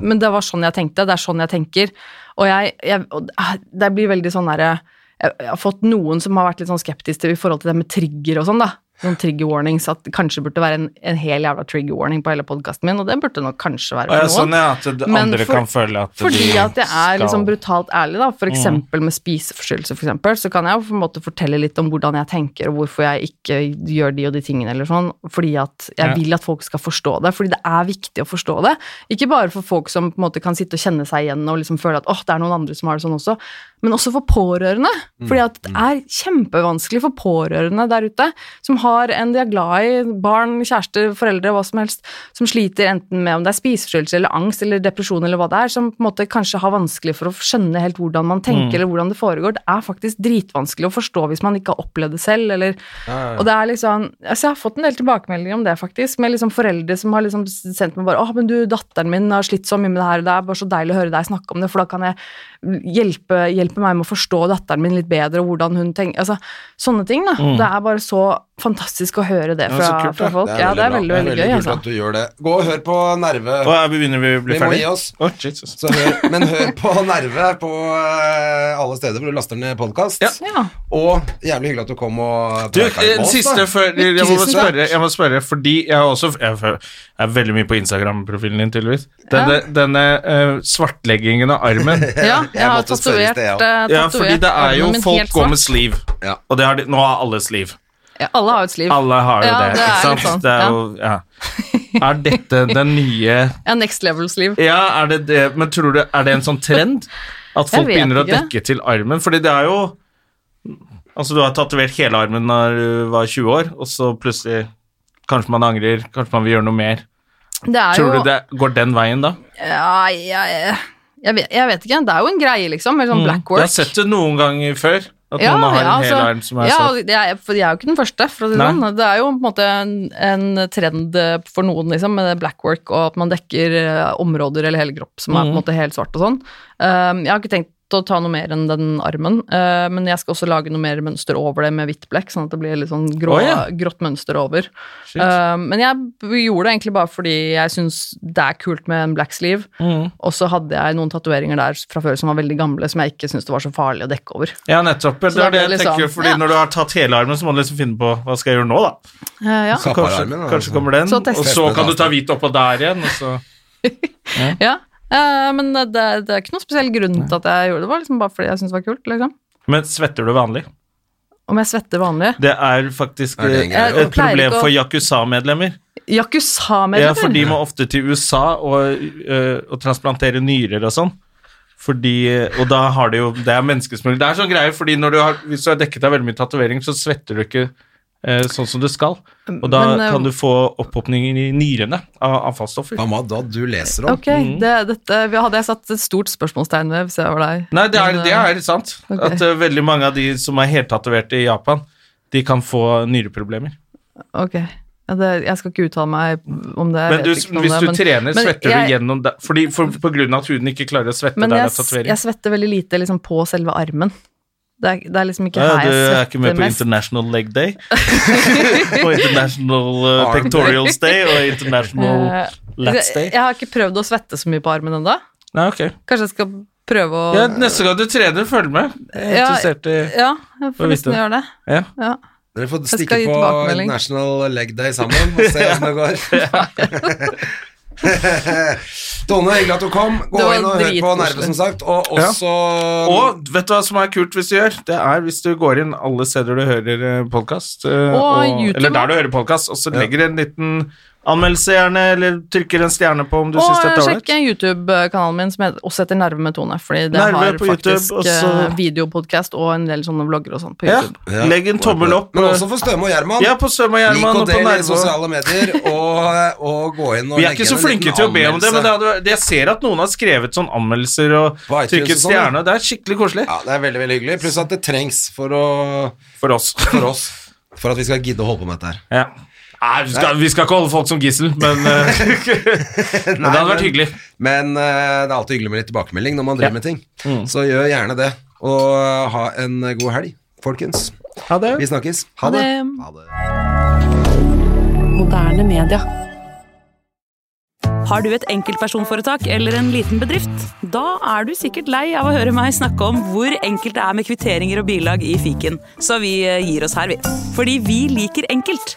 S3: Men det var sånn jeg tenkte, det er sånn jeg tenker. Og jeg, jeg og Det blir veldig sånn derre jeg, jeg har fått noen som har vært litt sånn skeptiske til i forhold til det med trigger og sånn, da. Sånn trigger warnings, at det kanskje burde være en, en hel jævla trigger warning på hele podkasten min, og det burde nok kanskje være
S1: Å, ja,
S3: for noen.
S1: sånn ja, at d-
S3: Men
S1: andre
S3: for-
S1: kan føle at
S3: Fordi
S1: de
S3: at jeg er liksom
S1: skal- Mm.
S3: brutalt ærlig, da. For eksempel med spiseforstyrrelser, for eksempel, så kan jeg jo på en måte fortelle litt om hvordan jeg tenker, og hvorfor jeg ikke gjør de og de tingene, eller sånn. Fordi at jeg
S1: Ja.
S3: vil at folk skal forstå det. Fordi det er viktig å forstå det. Ikke bare for folk som på en måte kan sitte og kjenne seg igjen og liksom føle at åh, det er noen andre som har det sånn også. Men også for pårørende.
S1: Mm.
S3: Fordi at det er kjempevanskelig for pårørende der ute, som har en de er glad i, barn, kjærester, foreldre, hva som helst, som sliter enten med om det er spiseforstyrrelse eller angst eller depresjon eller hva det er, som på en måte kanskje har vanskelig for å skjønne helt hvordan man tenker eller hvordan det foregår. Det er faktisk dritvanskelig å forstå hvis man ikke har opplevd det selv, eller Og det er liksom Altså, jeg har fått en del tilbakemeldinger om det, faktisk, med liksom foreldre som har liksom sendt meg bare 'Å, men du, datteren min har slitt så mye med det her, og det er bare så deilig å høre deg snakke om det, for da kan jeg hjelpe, hjelpe meg med å forstå datteren min litt bedre, og hvordan hun tenker Altså, sånne ting, da. Det er bare så fantastisk å høre det
S1: Ja,
S3: fra,
S1: så kult,
S3: fra
S1: da.
S3: folk. ja, det er
S2: bra.
S3: veldig, veldig, gøy,
S2: kult
S3: altså.
S2: at du gjør det. Gå og hør på Nerve.
S1: Å, ja, begynner vi å bli
S2: Vi må
S1: ferdig?
S2: gi oss.
S1: Å, Jesus.
S2: Så hør, men hør på Nerve på eh, alle steder hvor du laster ned podkast.
S1: Ja.
S3: Ja.
S2: Og jævlig hyggelig at du kom og
S1: Du,
S2: preika litt
S1: eh,
S2: med oss, da.
S1: siste før jeg må,
S2: Tusen takk.
S1: spørre, jeg må spørre, fordi jeg har også Jeg føler- jeg er veldig mye på Instagram-profilen din, tydeligvis. Denne, denne eh, svartleggingen av armen.
S3: ja,
S2: jeg
S3: jeg har
S2: måtte spørre i
S3: tatovert
S2: sted, ja.
S3: eh,
S1: Ja, fordi
S3: tatovert
S1: det er jo
S3: armen min
S1: Folk
S3: helt
S1: går med
S3: svart.
S1: sleeve,
S2: Ja.
S1: og det har de, nå har alle sleeve.
S3: ja, Alle har jo et sliv.
S1: Alle har jo
S3: Ja,
S1: det,
S3: det er
S1: ikke sant?
S3: litt sånn,
S1: Det er jo ja. Er dette den nye
S3: Ja, next level-sliv.
S1: Ja, er det det Men tror du Er det en sånn trend? At folk
S3: vet
S1: begynner å
S3: ikke.
S1: dekke til armen? Fordi det er jo Altså, du har tatovert hele armen da du var 20 år, og så plutselig Kanskje man angrer, kanskje man vil gjøre noe mer.
S3: Det er
S1: Tror
S3: jo
S1: du det går den veien, da?
S3: Ja, jeg, jeg, vet, jeg vet ikke. Det er jo en greie, liksom. Med sånn
S1: Mm.
S3: black
S1: Jeg
S3: work.
S1: har sett det noen ganger før, at noen har en hel
S3: altså,
S1: arm som er
S3: ja,
S1: svart.
S3: og jeg, for jeg er jo ikke den første, for å si det
S1: Nei.
S3: sånn. Det er jo på en måte en, en trend eh, for noen, liksom, med det blackwork, og at man dekker eh, områder eller hele kropp som
S1: Mm.
S3: er på en måte helt svart og sånn. Um, jeg har ikke tenkt å ta noe mer enn den armen, eh, men jeg skal også lage noe mer mønster over det med hvitt blekk, sånn at det blir litt sånn grå,
S1: Å, ja.
S3: grått mønster over.
S1: Shit.
S3: Eh, men jeg b- gjorde det egentlig bare fordi jeg syns det er kult med en black sleeve,
S1: Mm.
S3: og så hadde jeg noen tatoveringer der fra før som var veldig gamle, som jeg ikke syntes det var så farlig å dekke over.
S1: Ja, nettopp. Det
S3: da
S1: er det
S3: blir
S1: jeg
S3: det litt
S1: tenker,
S3: sånn,
S1: fordi
S3: ja.
S1: når du har tatt hele armen, så må du liksom finne på hva skal jeg gjøre nå, da.
S3: Eh, ja.
S1: Så
S2: Kapper
S1: kanskje,
S2: armen, da,
S1: kanskje
S2: liksom.
S1: kommer den,
S3: Så tester
S1: og så
S2: vi
S1: kan
S2: det.
S1: du ta hvit oppå der igjen, og så
S3: Ja, eh, men det, det er ikke noen spesiell grunn til at jeg gjorde det. Det var liksom bare fordi jeg syntes det var kult. liksom.
S1: Men svetter du vanlig?
S3: Om jeg svetter vanlig?
S1: Det er faktisk
S2: Er det en
S1: eh,
S2: greie,
S3: da?
S1: et problem
S3: Pleier ikke å-
S1: for Yakuza-medlemmer. Ja, for
S3: Yakuza-medlemmer?
S1: de må ofte til USA og, eh, og transplantere nyrer og sånn. Fordi, og da har de jo Det er menneskesmugling. Det er sånn greie, fordi når du har, hvis du har dekket deg veldig mye tatoveringer, så svetter du ikke eh, sånn som det skal. Og da
S3: Men, eh,
S1: kan du få opphopninger i nyrene av avfallsstoffer.
S2: Hva da du leser om?
S3: Ok,
S1: Mm.
S3: det, dette vi hadde jeg satt et stort spørsmålstegn ved hvis jeg var deg.
S1: Nei, det er,
S3: Men,
S1: det
S3: eh,
S1: er sant.
S3: ok.
S1: At eh, veldig mange av de som er heltatoverte i Japan, de kan få nyreproblemer.
S3: eh, Ok, ja, det, jeg skal ikke uttale meg om det. jeg
S1: Men
S3: vet
S1: du,
S3: ikke noe om
S1: hvis
S3: det,
S1: du
S3: men-
S1: trener,
S3: men
S1: svetter
S3: jeg-
S1: du gjennom der, fordi, for, På grunn av at huden ikke klarer å svette
S3: Men
S1: der det
S3: jeg,
S1: er tatovering.
S3: jeg svetter veldig lite liksom, på selve armen. Det er, det er liksom ikke
S1: Ja,
S3: her
S1: du
S3: jeg
S1: er ikke
S3: svetter
S1: med på
S3: mest.
S1: International Leg Day og International eh,
S2: Arm.
S1: Pectorials Day og International
S3: Eh,
S1: Lats
S3: jeg,
S1: Day.
S3: jeg har ikke prøvd å svette så mye på armen ennå.
S1: Nei, ok.
S3: Kanskje jeg skal prøve å
S1: Ja, neste gang du trener, følg med. Jeg er
S3: Ja.
S1: interessert i
S3: Ja, jeg
S1: Får
S3: får
S1: vite.
S3: nesten gjøre det.
S1: ja.
S3: Ja.
S2: Dere får
S3: Jeg
S2: stikke
S3: skal gi
S2: på
S3: tilbakemelding.
S2: National Leg Day sammen og se hvordan det går. Tone, hyggelig at du kom. Gå
S3: Det var
S2: inn og hør på
S3: dritkoselig.
S2: Nerve, som sagt. Og
S1: Ja.
S2: også
S1: Og vet du hva som er kult hvis du gjør? Det er hvis du går inn alle steder du hører eh, podkast,
S3: YouTube,
S1: eller
S3: da.
S1: der du hører podkast, og så legger en liten anmeldelse gjerne, eller trykker en stjerne på om du syns dette
S3: Og
S1: er
S3: sjekk
S1: ålreit.
S3: YouTube-kanalen min, som heter, også heter Nerve med Tone. Fordi det
S1: Nerve
S3: har
S1: på YouTube,
S3: faktisk
S1: og
S3: YouTube,
S1: så-
S3: videopodkast og en del sånne vlogger og sånt på
S1: Ja.
S3: YouTube.
S2: Ja.
S1: Legg en tommel opp. eh,
S2: Men også for Støme og Gjerman.
S1: Ja, på Søm og
S2: Lik
S1: Gjerman
S2: og
S1: og på
S2: del i
S1: Nervo.
S2: sosiale medier, og, og gå inn og
S1: Vi er
S2: legge
S1: ikke
S2: igjen
S1: så
S2: en
S1: flinke
S2: liten
S1: til å be om det,
S2: anmeldelse.
S1: men det hadde, vært- jeg ser at noen har skrevet sånn anmeldelser og
S2: På iTunes
S1: trykket
S2: og sånn, ja.
S1: stjerne. Det er skikkelig koselig
S2: Ja, det er veldig, veldig hyggelig. Pluss at det trengs for, å,
S1: for oss.
S2: for oss. For at vi skal gidde å holde på med dette her.
S1: Ja. Nei, vi skal, vi skal ikke holde folk som gissel, men, eh, men det hadde vært
S2: men-
S1: hyggelig.
S2: Men eh, det er alltid hyggelig med litt tilbakemelding når man driver med ting. Så gjør gjerne det. Og eh, ha en god helg, folkens.
S1: Ha det.
S2: Vi snakkes. Ha det.
S3: det.
S2: Ha det.
S5: Moderne media.
S4: Har du et enkeltpersonforetak eller en liten bedrift? Da er du sikkert lei av å høre meg snakke om hvor enkelt det er med kvitteringer og bilag i fiken, så vi eh, gir oss her, vi. Fordi vi liker enkelt.